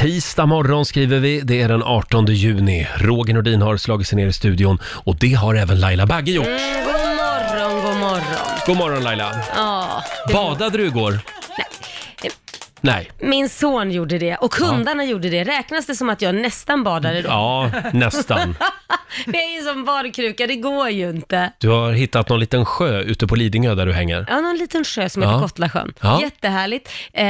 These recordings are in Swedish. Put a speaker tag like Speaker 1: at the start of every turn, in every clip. Speaker 1: tisdag morgon skriver vi. Det är den 18 juni. Roger Nordin har slagit sig ner i studion och det har även Laila Bagge gjort.
Speaker 2: Mm, god morgon, god morgon.
Speaker 1: God morgon Laila.
Speaker 2: Ja, det-
Speaker 1: Badade du igår?
Speaker 2: Nej.
Speaker 1: Nej.
Speaker 2: min son gjorde det och hundarna gjorde det. Räknas det som att jag nästan badade då?
Speaker 1: Ja, nästan.
Speaker 2: Men jag är ju som badkruka, det går ju inte.
Speaker 1: Du har hittat någon liten sjö ute på Lidingö där du hänger.
Speaker 2: Ja, någon liten sjö som
Speaker 1: Ja.
Speaker 2: heter Gotlasjön.
Speaker 1: Ja.
Speaker 2: Jättehärligt. Eh,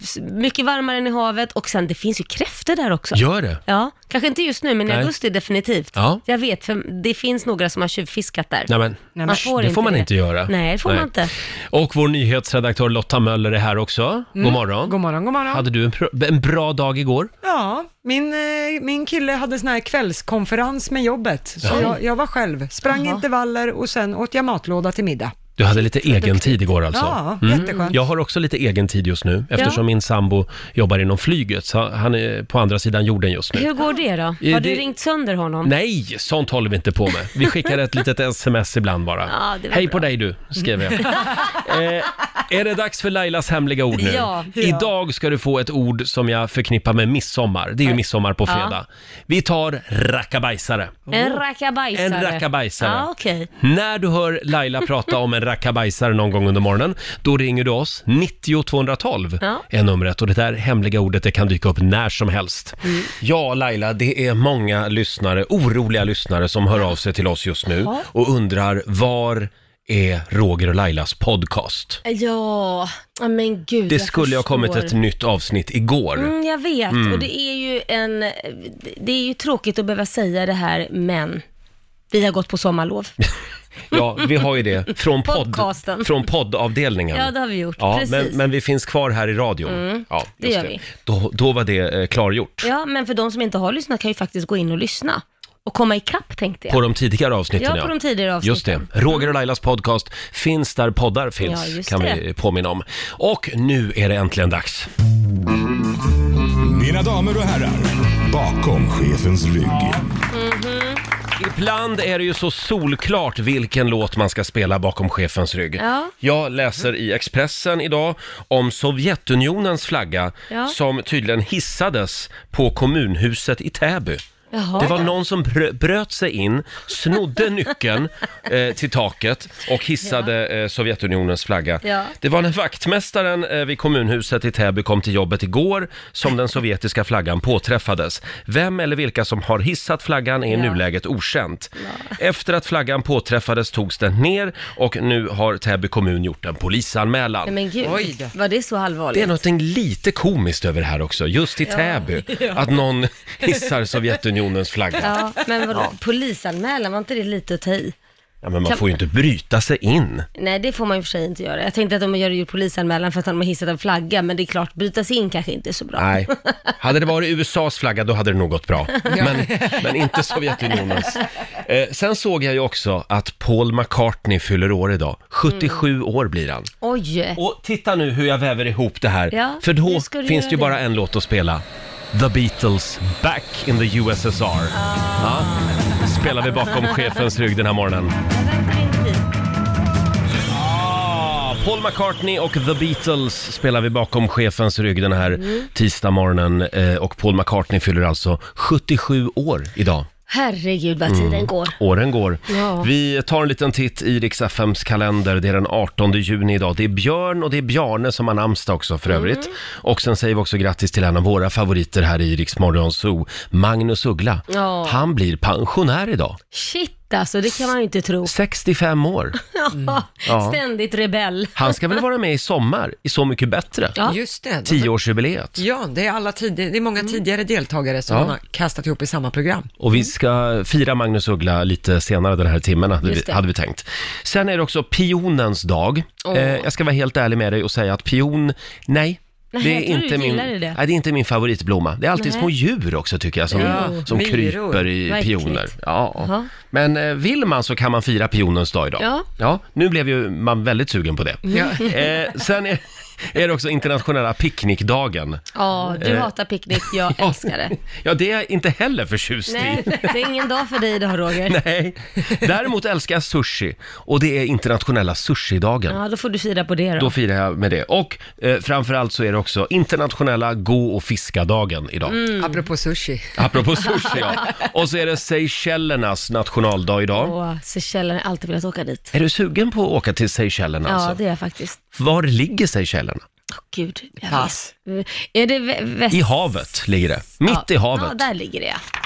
Speaker 2: s- mycket varmare än i havet och sen det finns ju kräftor där också.
Speaker 1: Gör det?
Speaker 2: Ja, kanske inte just nu men i
Speaker 1: Nej.
Speaker 2: augusti definitivt.
Speaker 1: Ja.
Speaker 2: Jag vet, för det finns några som har tjuvfiskat där.
Speaker 1: Nej, men,
Speaker 2: Man får
Speaker 1: det
Speaker 2: inte
Speaker 1: får man
Speaker 2: det.
Speaker 1: inte göra.
Speaker 2: Nej, det får man inte.
Speaker 1: Och vår nyhetsredaktör Lotta Möller är här också.
Speaker 2: Mm.
Speaker 1: God morgon.
Speaker 3: God morgon, god morgon.
Speaker 1: Hade du en, pr- en bra dag igår?
Speaker 3: Ja, min, eh, min kille hade sån här kvällskonferens med jobbet, så
Speaker 1: Ja.
Speaker 3: jag, jag var själv. Sprang intervaller och sen åt jag matlåda till middag.
Speaker 1: Du hade lite egen tid igår alltså?
Speaker 3: Ja, jätteskönt.
Speaker 1: Jag har också lite egen tid just nu eftersom
Speaker 2: Ja.
Speaker 1: min sambo jobbar inom flyget så han är på andra sidan jorden just nu.
Speaker 2: Hur går det då?
Speaker 1: Eh,
Speaker 2: Har du
Speaker 1: det-
Speaker 2: ringt sönder honom?
Speaker 1: Nej, sånt håller vi inte på med. Vi skickar ett litet sms ibland bara.
Speaker 2: Ja, det var
Speaker 1: Hej på
Speaker 2: bra.
Speaker 1: dig du, skrev jag. eh, är det dags för Lailas hemliga ord nu?
Speaker 2: Ja.
Speaker 1: Idag ska du få ett ord som jag förknippar med midsommar. Det är ju midsommar på
Speaker 2: Ja.
Speaker 1: fredag. Vi tar rackabajsare.
Speaker 2: En rackabajsare.
Speaker 1: En rackabajsare.
Speaker 2: Ja, okej.
Speaker 1: När du hör Laila prata om en rackabajsare någon gång under morgonen, då ringer du oss. 90 212
Speaker 2: Ja.
Speaker 1: är numret och det där hemliga ordet det kan dyka upp när som helst.
Speaker 2: Mm.
Speaker 1: Ja, Laila, det är många lyssnare, oroliga lyssnare som hör av sig till oss just nu och undrar var är Roger och Lailas podcast?
Speaker 2: Ja, ja, men gud.
Speaker 1: Det skulle ha kommit
Speaker 2: förstår.
Speaker 1: ett nytt avsnitt igår.
Speaker 2: Mm, jag vet, och det är ju en... Det är ju tråkigt att behöva säga det här, men vi har gått på sommarlov.
Speaker 1: Ja, vi har ju det från, podd,
Speaker 2: Podcasten.
Speaker 1: från poddavdelningen.
Speaker 2: Ja, det har vi gjort.
Speaker 1: Ja,
Speaker 2: Precis. Mm.
Speaker 1: men, men vi finns kvar här i radion. ja,
Speaker 2: det
Speaker 1: just
Speaker 2: gör vi.
Speaker 1: Då, då var det eh, klargjort.
Speaker 2: Ja, men för de som inte har lyssnat kan ju faktiskt gå in och lyssna och komma ikapp, tänkte jag.
Speaker 1: På de tidigare avsnitten,
Speaker 2: Ja, på de tidigare avsnitten.
Speaker 1: Just det. Roger och Lailas podcast finns där poddar finns,
Speaker 2: Ja, just
Speaker 1: kan
Speaker 2: det.
Speaker 1: vi påminna om. Och nu är det äntligen dags.
Speaker 4: Mina damer och herrar, bakom chefens rygg.
Speaker 1: Ibland är det ju så solklart vilken låt man ska spela bakom chefens rygg.
Speaker 2: Ja.
Speaker 1: Jag läser i Expressen idag om Sovjetunionens flagga
Speaker 2: Ja.
Speaker 1: som tydligen hissades på kommunhuset i Täby.
Speaker 2: Jaha.
Speaker 1: Det var någon som brö- bröt sig in, snodde nyckeln eh, till taket och hissade eh, Sovjetunionens flagga.
Speaker 2: Ja.
Speaker 1: Det var när vaktmästaren eh, vid kommunhuset i Täby kom till jobbet igår som den sovjetiska flaggan påträffades. Vem eller vilka som har hissat flaggan är i
Speaker 2: Ja.
Speaker 1: nuläget okänt. Efter att flaggan påträffades togs den ner och nu har Täby kommun gjort en polisanmälan.
Speaker 2: Nej, men gud,
Speaker 3: Oj då.
Speaker 2: var det så allvarligt?
Speaker 1: Det är något lite komiskt över det här också, just i Täby, att någon hissar Sovjetunionens flagga.
Speaker 2: Ja, men vadå, polisanmälan, var inte det lite att ta i?
Speaker 1: Ja, men man
Speaker 2: Kan-
Speaker 1: får ju inte bryta sig in.
Speaker 2: Nej, det får man ju för sig inte göra. Jag tänkte att de gör ju polisanmälan för att de har hissat en flagga, men det är klart, bryta sig in kanske inte är så bra.
Speaker 1: Nej. Hade det varit USAs flagga då hade det nog gått bra. Men, men inte Sovjetunionens. Eh, sen såg jag ju också att Paul McCartney fyller år idag.
Speaker 2: Mm.
Speaker 1: 77 år blir han.
Speaker 2: Oj!
Speaker 1: Och titta nu hur jag väver ihop det här.
Speaker 2: Ja,
Speaker 1: För då
Speaker 2: nu ska du
Speaker 1: finns
Speaker 2: göra
Speaker 1: det ju
Speaker 2: det.
Speaker 1: bara en låt att spela. The Beatles, Back in the USSR.
Speaker 2: Ah.
Speaker 1: Ja. Spelar vi bakom chefens rygg den här morgonen.
Speaker 2: Jag väntar in dit.
Speaker 1: Ah, Paul McCartney och The Beatles spelar vi bakom chefens rygg den här
Speaker 2: Mm.
Speaker 1: tisdagmorgonen. Eh, och Paul McCartney fyller alltså 77 år idag.
Speaker 2: Herregud
Speaker 1: Mm.
Speaker 2: vad tiden går.
Speaker 1: Åren går.
Speaker 2: Ja.
Speaker 1: Vi tar en liten titt i Rix FMs kalender. Det är den 18 juni idag. Det är Björn och det är Bjarne som har namnsdag också för
Speaker 2: Mm.
Speaker 1: övrigt. Och sen säger vi också grattis till en av våra favoriter här i Rix Morgon Zoo, Magnus Uggla.
Speaker 2: Ja.
Speaker 1: Han blir pensionär idag.
Speaker 2: Shit alltså, det kan man ju inte tro.
Speaker 1: 65 år.
Speaker 2: Mm.
Speaker 1: Ja.
Speaker 2: Ständigt rebell.
Speaker 1: Han ska väl vara med i sommar, i Så mycket bättre.
Speaker 2: Ja.
Speaker 3: Just det.
Speaker 1: Tioårsjubileet.
Speaker 3: Ja, det är, alla tid, det är många tidigare deltagare som
Speaker 1: Ja.
Speaker 3: man har kastat ihop i samma program.
Speaker 1: Och
Speaker 2: Mm.
Speaker 1: vi ska fira Magnus Uggla lite senare den här timmen, hade
Speaker 2: Just
Speaker 1: vi,
Speaker 2: det.
Speaker 1: hade vi tänkt. Sen är det också pionens dag. Eh, jag ska vara helt ärlig med dig och säga att pion, nej.
Speaker 2: Nej,
Speaker 1: Det är,
Speaker 2: jag tror du
Speaker 1: inte min,
Speaker 2: gillade det.
Speaker 1: Nej, det är inte min favoritblomma. Det är alltid
Speaker 2: Nej.
Speaker 1: små djur också tycker jag som,
Speaker 3: Ja,
Speaker 1: som
Speaker 3: myror.
Speaker 1: kryper i
Speaker 2: Verkligt.
Speaker 1: pioner. Ja.
Speaker 2: Jaha.
Speaker 1: Men eh, vill man så kan man fira pionens dag idag.
Speaker 2: Ja. Mm.
Speaker 1: nu blev ju man väldigt sugen på det.
Speaker 3: Ja.
Speaker 1: Eh, sen är, är det också internationella picknickdagen.
Speaker 2: Ja, du
Speaker 1: Eh.
Speaker 2: hatar picknick, jag älskar det.
Speaker 1: Ja, det är jag inte heller förtjust
Speaker 2: Nej,
Speaker 1: i.
Speaker 2: det är ingen dag för dig idag Roger.
Speaker 1: Nej. Däremot älskar jag sushi och det är internationella sushidagen.
Speaker 2: Ja, då får du fira på det då.
Speaker 1: Då firar jag med det. Och eh, framförallt så är det också internationella gå och fiska-dagen idag.
Speaker 2: Mm.
Speaker 5: Apropå sushi.
Speaker 1: Apropå sushi ja. Och så är det Seychellernas nationaldag idag.
Speaker 2: Åh, Seychellerna, jag har alltid velat åka dit.
Speaker 1: Är du sugen på att åka till Seychellerna
Speaker 2: Ja,
Speaker 1: alltså?
Speaker 2: det är jag faktiskt.
Speaker 1: Var ligger Seychellerna?
Speaker 2: Åh gud, jag
Speaker 5: Pass.
Speaker 2: vet. Är det vä- väst?
Speaker 1: I havet ligger det. Mitt i
Speaker 2: Ja,
Speaker 1: havet.
Speaker 2: där ah, ligger det ja.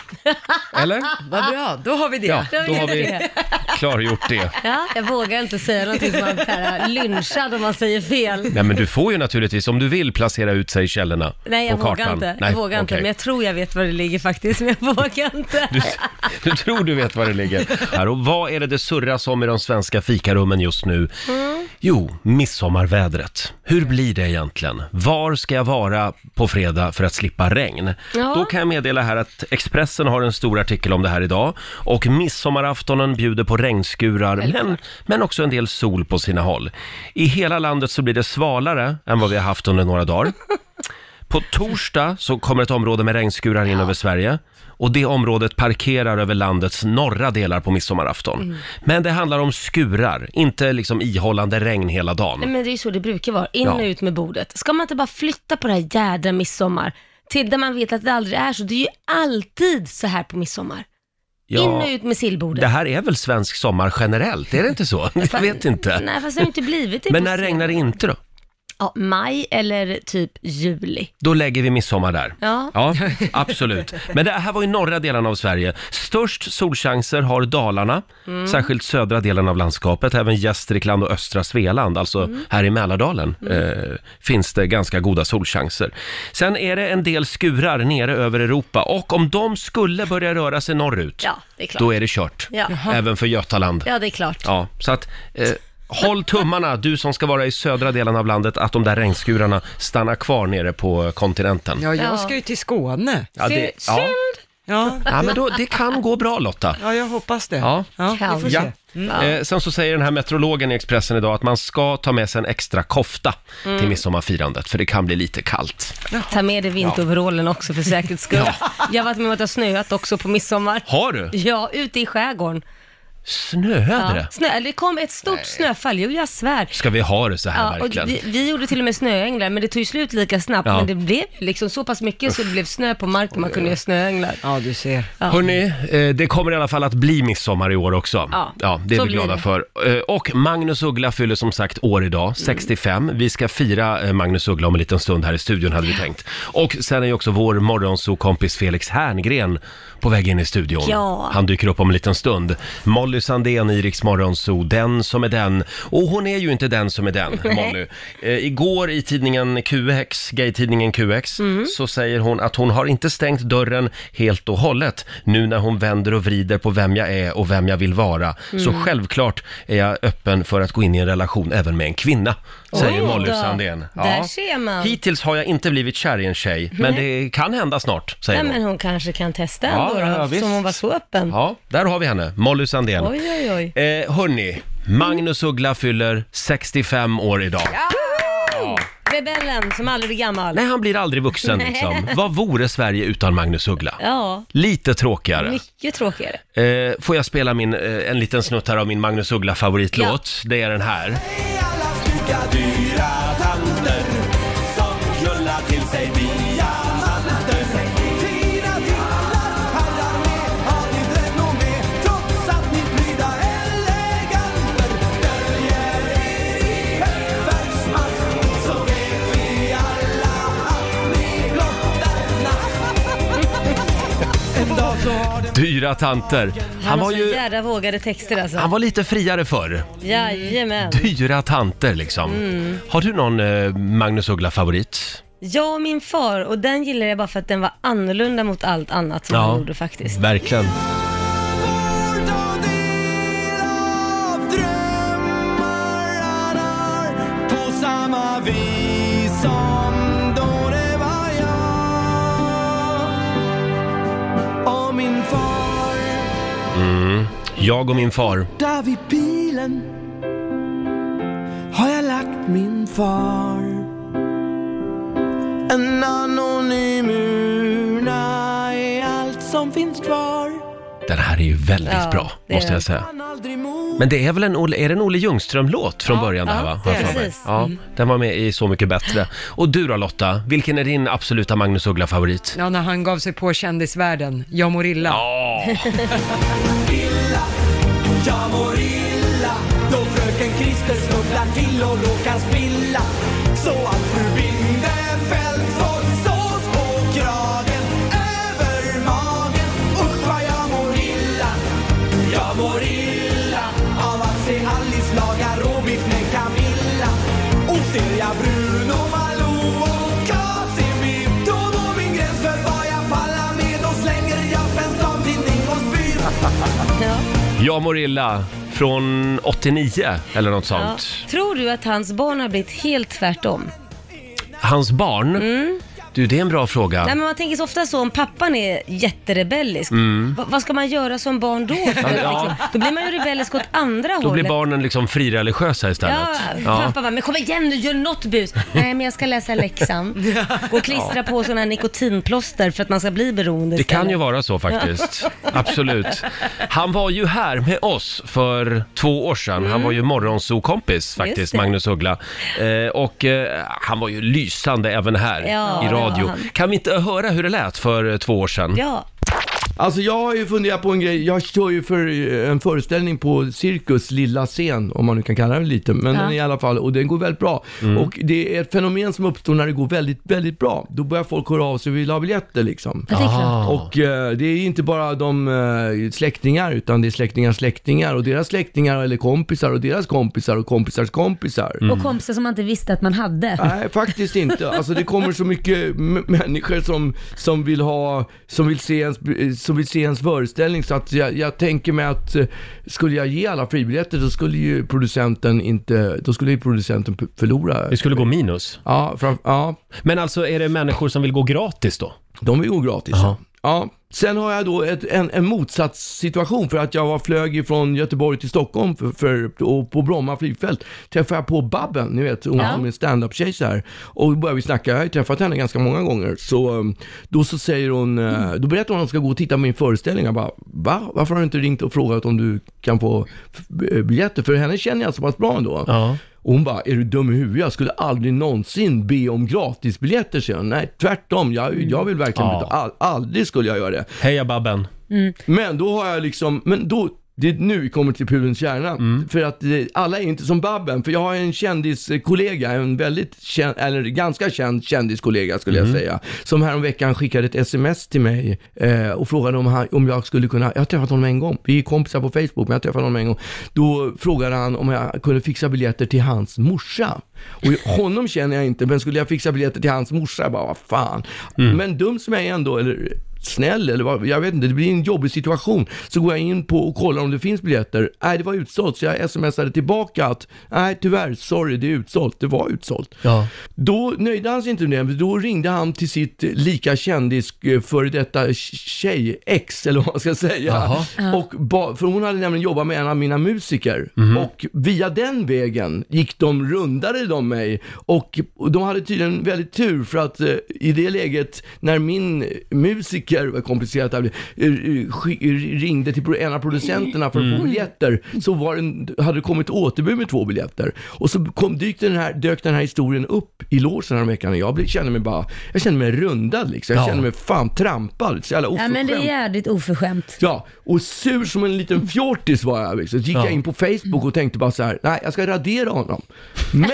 Speaker 1: Eller?
Speaker 3: Ah.
Speaker 5: Vad bra, då har vi det.
Speaker 1: Ja, då
Speaker 2: ligger
Speaker 1: har vi
Speaker 2: det.
Speaker 1: klargjort det.
Speaker 2: ja. Jag vågar inte säga någonting, man är lynchad om man säger fel.
Speaker 1: Nej, men du får ju naturligtvis, om du vill, placera ut Seychellerna
Speaker 2: Nej, jag
Speaker 1: på kartan.
Speaker 2: vågar inte. Jag vågar inte,
Speaker 1: okej.
Speaker 2: men jag tror jag vet var det ligger faktiskt, men jag vågar inte.
Speaker 1: Du, du tror du vet var det ligger. Här, och vad är det det surras om i de svenska fikarummen just nu? Jo, midsommarvädret. Hur blir det egentligen? Var ska jag vara på fredag för att slippa regn?
Speaker 2: Ja.
Speaker 1: Då kan jag meddela här att Expressen har en stor artikel om det här idag. Och midsommaraftonen bjuder på regnskurar, men, men också en del sol på sina håll. I hela landet så blir det svalare än vad vi har haft under några dagar. På torsdag så kommer ett område med regnskurar in över Sverige. Och det området parkerar över landets norra delar på midsommarafton.
Speaker 2: Mm.
Speaker 1: Men det handlar om skurar, inte liksom ihållande regn hela
Speaker 2: Nej,
Speaker 1: dagen.
Speaker 2: men det är ju så det brukar vara, in och
Speaker 1: Ja.
Speaker 2: ut med bordet. Ska man inte bara flytta på det här jädra midsommar? Till där man vet att det aldrig är så. Det är ju alltid så här på midsommar. In
Speaker 1: Ja,
Speaker 2: och ut med sillbordet.
Speaker 1: det här är väl svensk sommar generellt, är det inte så? Jag vet inte.
Speaker 2: Nej, fast det har ju inte blivit det.
Speaker 1: Men
Speaker 2: på
Speaker 1: när
Speaker 2: senare.
Speaker 1: regnar det inte då?
Speaker 2: Ja, maj eller typ juli.
Speaker 1: Då lägger vi midsommar där.
Speaker 2: Ja.
Speaker 1: Ja, absolut. Men det här var ju norra delen av Sverige. Störst solchanser har Dalarna,
Speaker 2: Mm.
Speaker 1: särskilt södra delen av landskapet. Även Gästrikland och östra Svealand, alltså
Speaker 2: Mm.
Speaker 1: här i Mälardalen, eh, finns det ganska goda solchanser. Sen är det en del skurar nere över Europa och om de skulle börja röra sig norrut,
Speaker 2: Ja, det är klart.
Speaker 1: då är det kört.
Speaker 2: Ja.
Speaker 1: Även för Götaland.
Speaker 2: Ja, det är klart.
Speaker 1: Ja, så att eh, håll tummarna, du som ska vara i södra delen av landet, att de där regnskurarna stannar kvar nere på kontinenten.
Speaker 3: Ja,
Speaker 2: Ja.
Speaker 3: jag ska ju till Skåne.
Speaker 1: Ja, det, ja.
Speaker 3: Ja,
Speaker 1: ja men då, det kan gå bra Lotta.
Speaker 3: ja jag hoppas det.
Speaker 1: Ja.
Speaker 3: vi får
Speaker 1: Ja.
Speaker 3: se.
Speaker 1: Eh, sen så säger den här meteorologen i Expressen idag att man ska ta med sig en extra kofta till midsommarfirandet, för det kan bli lite kallt.
Speaker 2: Ta med dig vinteroverallen också för säkerhets skull. Jag har varit med om att det har snöat också på midsommar.
Speaker 1: Har du?
Speaker 2: Ja, ute i skärgården.
Speaker 1: Snöade
Speaker 2: Ja,
Speaker 1: det?
Speaker 2: snö, eller det kom ett stort snöfall, jo jag svär.
Speaker 1: Ska vi ha det så här
Speaker 2: Ja, och
Speaker 1: verkligen?
Speaker 2: vi, vi gjorde till och med snöänglar, men det tog ju slut lika snabbt.
Speaker 1: Ja.
Speaker 2: Men det blev ju liksom så pass mycket så det blev snö på marken, man kunde göra snöänglar.
Speaker 3: Ja, du ser.
Speaker 2: Ja.
Speaker 1: Hörni, eh, det kommer i alla fall att bli midsommar i år också.
Speaker 2: Ja,
Speaker 1: det Mm. är
Speaker 2: så
Speaker 1: vi
Speaker 2: blir
Speaker 1: glada
Speaker 2: det.
Speaker 1: för. Eh, Och Magnus Uggla fyller som sagt år idag, 65. Vi ska fira eh, Magnus Uggla om en liten stund här i studion hade vi tänkt. Och sen är ju också vår morgonsokompis Felix Herngren på väg in i studion.
Speaker 2: Ja.
Speaker 1: Han dyker upp om en liten stund. Molly Sandén i Rix Morgonzoo, den som är den. Och hon är ju inte den som är den, Molly. Eh, igår i tidningen QX, gaytidningen QX,
Speaker 2: Mm.
Speaker 1: så säger hon att hon har inte stängt dörren helt och hållet nu när hon vänder och vrider på vem jag är och vem jag vill vara. Så
Speaker 2: Mm.
Speaker 1: självklart är jag öppen för att gå in i en relation även med en kvinna, säger
Speaker 2: Oj
Speaker 1: Molly
Speaker 2: då.
Speaker 1: Sandén.
Speaker 2: Där ser man.
Speaker 1: Hittills har jag inte blivit kär i en tjej, men det kan hända snart, säger
Speaker 2: Nej,
Speaker 1: hon.
Speaker 2: men hon kanske kan testa
Speaker 1: Ja,
Speaker 2: ändå då,
Speaker 1: ja, ja, visst.
Speaker 2: som hon var så öppen.
Speaker 1: Ja, där har vi henne, Molly Sandén.
Speaker 2: Oj, oj, oj.
Speaker 1: Eh, hörni, Magnus Uggla fyller 65 år idag.
Speaker 2: Rebellen som aldrig blir gammal.
Speaker 1: Nej, han blir aldrig vuxen liksom. Vad vore Sverige utan Magnus Uggla?
Speaker 2: Ja,
Speaker 1: Lite tråkigare.
Speaker 2: mycket tråkigare.
Speaker 1: Eh, får jag spela min, eh, en liten snutt här av min Magnus Uggla-favoritlåt? Det är den här.
Speaker 6: Allas lika dyra tanter som knullar till sig diamanter. Fina titlar, herrar med, har ni renommé trots att ni pryda eleganter? Döljer er i högfärgsmask så vet vi alla att ni blottar natt. En dag så har det
Speaker 1: Dyra tanter. Han var
Speaker 2: har så
Speaker 1: ju...
Speaker 2: jädra vågade texter alltså.
Speaker 1: Han var lite friare förr.
Speaker 2: Jajamän.
Speaker 1: Dyra tanter liksom. Har du någon eh, Magnus Uggla-favorit?
Speaker 2: Jag och min far, och den gillade jag bara för att den var annorlunda mot allt annat som han gjorde faktiskt.
Speaker 1: verkligen.
Speaker 6: får ta del av drömmar han har på samma vis som då det var jag och min far
Speaker 1: Jag och min far.
Speaker 6: där vid bilen har jag lagt min far En anonym urna är allt som finns kvar
Speaker 1: Den här är ju väldigt
Speaker 5: Ja,
Speaker 1: bra,
Speaker 5: det är
Speaker 1: måste
Speaker 5: den.
Speaker 1: jag säga.
Speaker 6: Kan aldrig mo
Speaker 1: Men det är väl en, Olle- är det en Olle Ljungström-låt från början det här
Speaker 5: ja,
Speaker 1: va? Har
Speaker 5: det
Speaker 1: jag
Speaker 5: är
Speaker 1: för mig.
Speaker 2: precis. Mm.
Speaker 1: Ja, den var med i Så mycket bättre. Och du då Lotta, vilken är din absoluta Magnus Uggla-favorit?
Speaker 3: Ja, när han gav sig på kändisvärlden. Jag mår illa.
Speaker 1: Ja,
Speaker 6: illa Jag mår illa Då fröken Krister snubblar till och råkar spilla Så att fru Bindefeld får sås på kragen Över magen Usch vad jag mår illa Jag mår illa Av att se Alice laga råbiff med Camilla Och ser jag Bruno Malou och Casimir Då går min gräns för vad jag pallar med Då slänger jag Svensk Damtidning och spyr
Speaker 1: Jag mår illa från 89 eller något
Speaker 2: Ja.
Speaker 1: sånt.
Speaker 2: Tror du att hans barn har blivit helt tvärtom?
Speaker 1: Hans barn? Du, det är en bra fråga.
Speaker 2: Mm. Nej, men man tänker så ofta så om pappan är jätterebellisk, va- vad ska man göra som barn då? För
Speaker 1: Mm. Ja.
Speaker 2: liksom, då blir man ju rebellisk åt andra
Speaker 1: Då
Speaker 2: hållet.
Speaker 1: blir barnen liksom frireligiösa
Speaker 2: Ja,
Speaker 1: istället.
Speaker 2: pappa bara, men kom igen nu, gör något bus. Nej, men jag ska läsa läxan. Gå och klistra på sådana här nikotinplåster för att man ska bli beroende
Speaker 1: Det kan
Speaker 2: istället.
Speaker 1: ju vara så faktiskt. Absolut. Han var ju här med oss för två år sedan. Han var ju morgonsokompis faktiskt,
Speaker 2: Mm. Just det.
Speaker 1: Magnus Uggla. Eh, och eh, han var ju lysande även här
Speaker 2: Ja,
Speaker 1: i
Speaker 2: det var
Speaker 1: radio.
Speaker 2: han.
Speaker 1: Kan vi inte höra hur det lät för eh, två år sedan?
Speaker 2: Ja,
Speaker 7: Alltså jag har ju funderat på en grej, jag kör ju för eh, en föreställning på Cirkus lilla scen, om man nu kan kalla den lite, men
Speaker 2: Ja.
Speaker 7: den är i alla fall, och den går väldigt bra. Och det är ett fenomen som uppstår när det går väldigt, väldigt bra. Då börjar folk höra av sig och vill ha biljetter liksom.
Speaker 2: ja, det är klart.
Speaker 1: Ah.
Speaker 7: Och eh, det är inte bara de eh, släktingar, utan det är släktingars släktingar och deras släktingar eller kompisar och deras kompisar och kompisars kompisar.
Speaker 8: Och kompisar som man inte visste att man hade.
Speaker 7: Nej, faktiskt inte. Alltså det kommer så mycket m- människor som, som vill ha, som vill se ens, som vill se ens föreställning så att jag, jag tänker mig att eh, skulle jag ge alla fribiljetter då skulle ju producenten inte, då skulle ju producenten p- förlora.
Speaker 1: Det skulle gå minus.
Speaker 7: Ja, fram, ja,
Speaker 1: Men alltså, är det människor som vill gå gratis då?
Speaker 7: de är ju gratis.
Speaker 1: Jaha.
Speaker 7: Ja. Sen har jag då ett, en, en motsatssituation för att jag var, flög från Göteborg till Stockholm för, för, och på Bromma flygfält träffade jag på Babben, ni vet hon som är standup-tjej så här. Och då började vi snacka, jag har ju träffat henne ganska många gånger. Så um, då så säger hon, eh, då berättar hon att hon ska gå och titta på min föreställning. Jag bara, va? Varför har du inte ringt och frågat om du kan få f- b- biljetter? För henne känner jag så pass bra ändå.
Speaker 1: Ja.
Speaker 7: Och hon bara, är du dum i huvudet? Jag skulle aldrig någonsin be om gratisbiljetter, säger hon. Nej, tvärtom. Jag, jag vill verkligen
Speaker 1: Ja.
Speaker 7: betala. All, aldrig skulle jag göra det.
Speaker 1: Heja Babben!
Speaker 7: Men då har jag liksom, men då, det är nu vi kommer till pudelns kärna. För att eh, alla är inte som Babben. För jag har en kändiskollega, en väldigt känd, eller ganska känd kändiskollega skulle jag säga. Som häromveckan skickade ett sms till mig eh, och frågade om, han, om jag skulle kunna, jag har träffat honom en gång. Vi är kompisar på Facebook, men jag träffade honom en gång. Då frågade han om jag kunde fixa biljetter till hans morsa. Och honom känner jag inte, men skulle jag fixa biljetter till hans morsa, jag bara vad fan. Men dum som jag är ändå, eller snäll eller vad, jag vet inte, det blir en jobbig situation. Så går jag in på och kollar om det finns biljetter. Nej, det var utsålt, så jag smsade tillbaka att nej, tyvärr, sorry, det är utsålt. Det var utsålt.
Speaker 1: Ja.
Speaker 7: Då nöjde han sig inte med det, men då ringde han till sitt lika kändis eh, före detta tjej-ex, eller vad man ska säga. Och ba, för hon hade nämligen jobbat med en av mina musiker. Och via den vägen gick de, rundade de mig. Och de hade tydligen väldigt tur för att eh, i det läget, när min musiker, vad komplicerat det här blev, eh, eh, sk- ringde till pro- en av producenterna för att
Speaker 1: Mm.
Speaker 7: få biljetter, så var den, hade det kommit återbud med två biljetter. Och så kom, dök, den här, dök den här historien upp i logen häromveckan och jag blev, kände mig bara, jag kände mig rundad liksom. Jag
Speaker 1: Ja.
Speaker 7: kände mig fan trampad, så jävla
Speaker 8: Ja, men
Speaker 7: oförskämt.
Speaker 8: det är jävligt oförskämt.
Speaker 7: Ja, och sur som en liten fjortis var jag. Liksom. Så gick
Speaker 1: Ja.
Speaker 7: jag in på Facebook och tänkte bara så här, nej jag ska radera honom. Men,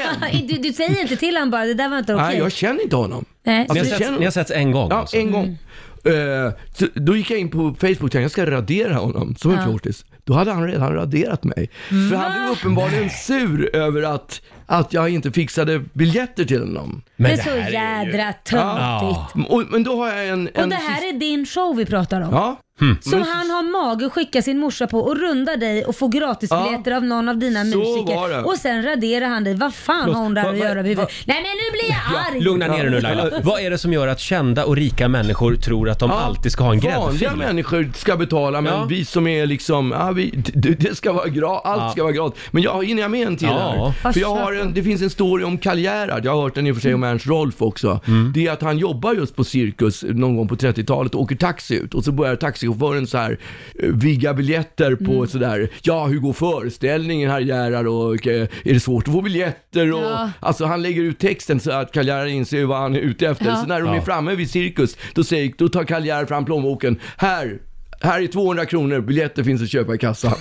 Speaker 8: Du, du säger inte till honom bara, det där var inte okej.
Speaker 7: nej jag känner inte honom.
Speaker 8: Nej.
Speaker 1: Ni har,
Speaker 7: det
Speaker 1: sett,
Speaker 7: känner-
Speaker 1: ni har setts en gång
Speaker 7: Ja,
Speaker 1: alltså.
Speaker 7: en gång. Eh, så då gick jag in på Facebook och tänkte jag ska radera honom som en fjortis. Då hade han redan raderat mig. För han blev uppenbarligen sur över att, att jag inte fixade biljetter till honom.
Speaker 8: det är
Speaker 1: det
Speaker 8: så
Speaker 1: här är ju-
Speaker 8: jädra töntigt.
Speaker 1: Ja.
Speaker 7: Och, men då har jag en... en
Speaker 8: Och det här är din show vi pratar om.
Speaker 7: Ja,
Speaker 8: Som han har mage att skicka sin morsa på och runda dig och få gratisbiljetter av någon av dina
Speaker 7: Så
Speaker 8: musiker.
Speaker 7: var det.
Speaker 8: Och sen raderar han dig. Vad fan har hon där
Speaker 7: Vad-
Speaker 8: att
Speaker 7: vad-
Speaker 8: göra med huvudet?
Speaker 7: vad-
Speaker 8: Nej men nu blir jag arg!
Speaker 1: Lugna ner dig nu Laila. Vad är det som gör att kända och rika människor tror att de
Speaker 7: Ja,
Speaker 1: alltid ska ha en
Speaker 7: Vanliga
Speaker 1: gräddfil?
Speaker 7: människor ska betala, men
Speaker 1: Ja.
Speaker 7: vi som är liksom, ja, vi, det, det ska vara gra, allt ska vara gratis. Men jag, hinner jag med en till
Speaker 1: Ja.
Speaker 7: här? För jag har en, det finns en story om Karl Gerhard, jag har hört den i och för sig om
Speaker 8: Mm.
Speaker 7: Ernst Rolf också. Det är att han jobbar just på Cirkus någon gång på 30-talet och åker taxi ut och så börjar taxichauffören så här eh, vigga biljetter på
Speaker 8: Mm.
Speaker 7: sådär, ja hur går föreställningen herr Gerhard och eh, är det svårt att få biljetter? Och,
Speaker 8: Ja.
Speaker 7: Alltså han lägger ut texten så att Karl Gerhard inser vad han är ute efter.
Speaker 8: Ja.
Speaker 7: Så när de är
Speaker 1: Ja.
Speaker 7: framme vid cirkus, då, säger, då tar Karl Gerhard fram plånboken. Här, här är 200 kronor, biljetter finns att köpa i kassan.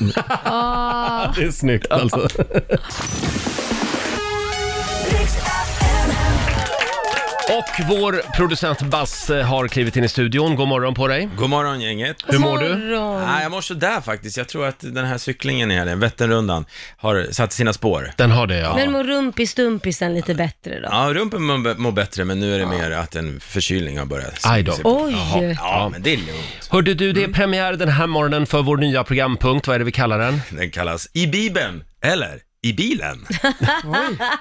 Speaker 1: Det är snyggt alltså. Och vår producent Basse har klivit in i studion. God morgon på dig.
Speaker 9: God morgon gänget.
Speaker 1: Hur mår du?
Speaker 2: Morgon.
Speaker 9: Nej, jag mår sådär faktiskt. Jag tror att den här cyklingen i helgen, Vätternrundan, har satt sina spår.
Speaker 1: Den har det ja.
Speaker 2: Men mår rumpistumpisen lite bättre då?
Speaker 9: Ja, rumpen mår mår bättre, men nu är det mer att en förkylning har börjat.
Speaker 1: Aj då.
Speaker 2: Oj!
Speaker 9: Ja, men det är lugnt.
Speaker 1: Hörde du, det är premiär den här morgonen för vår nya programpunkt. Vad är det vi kallar den?
Speaker 9: Den kallas I Bibeln, eller I bilen.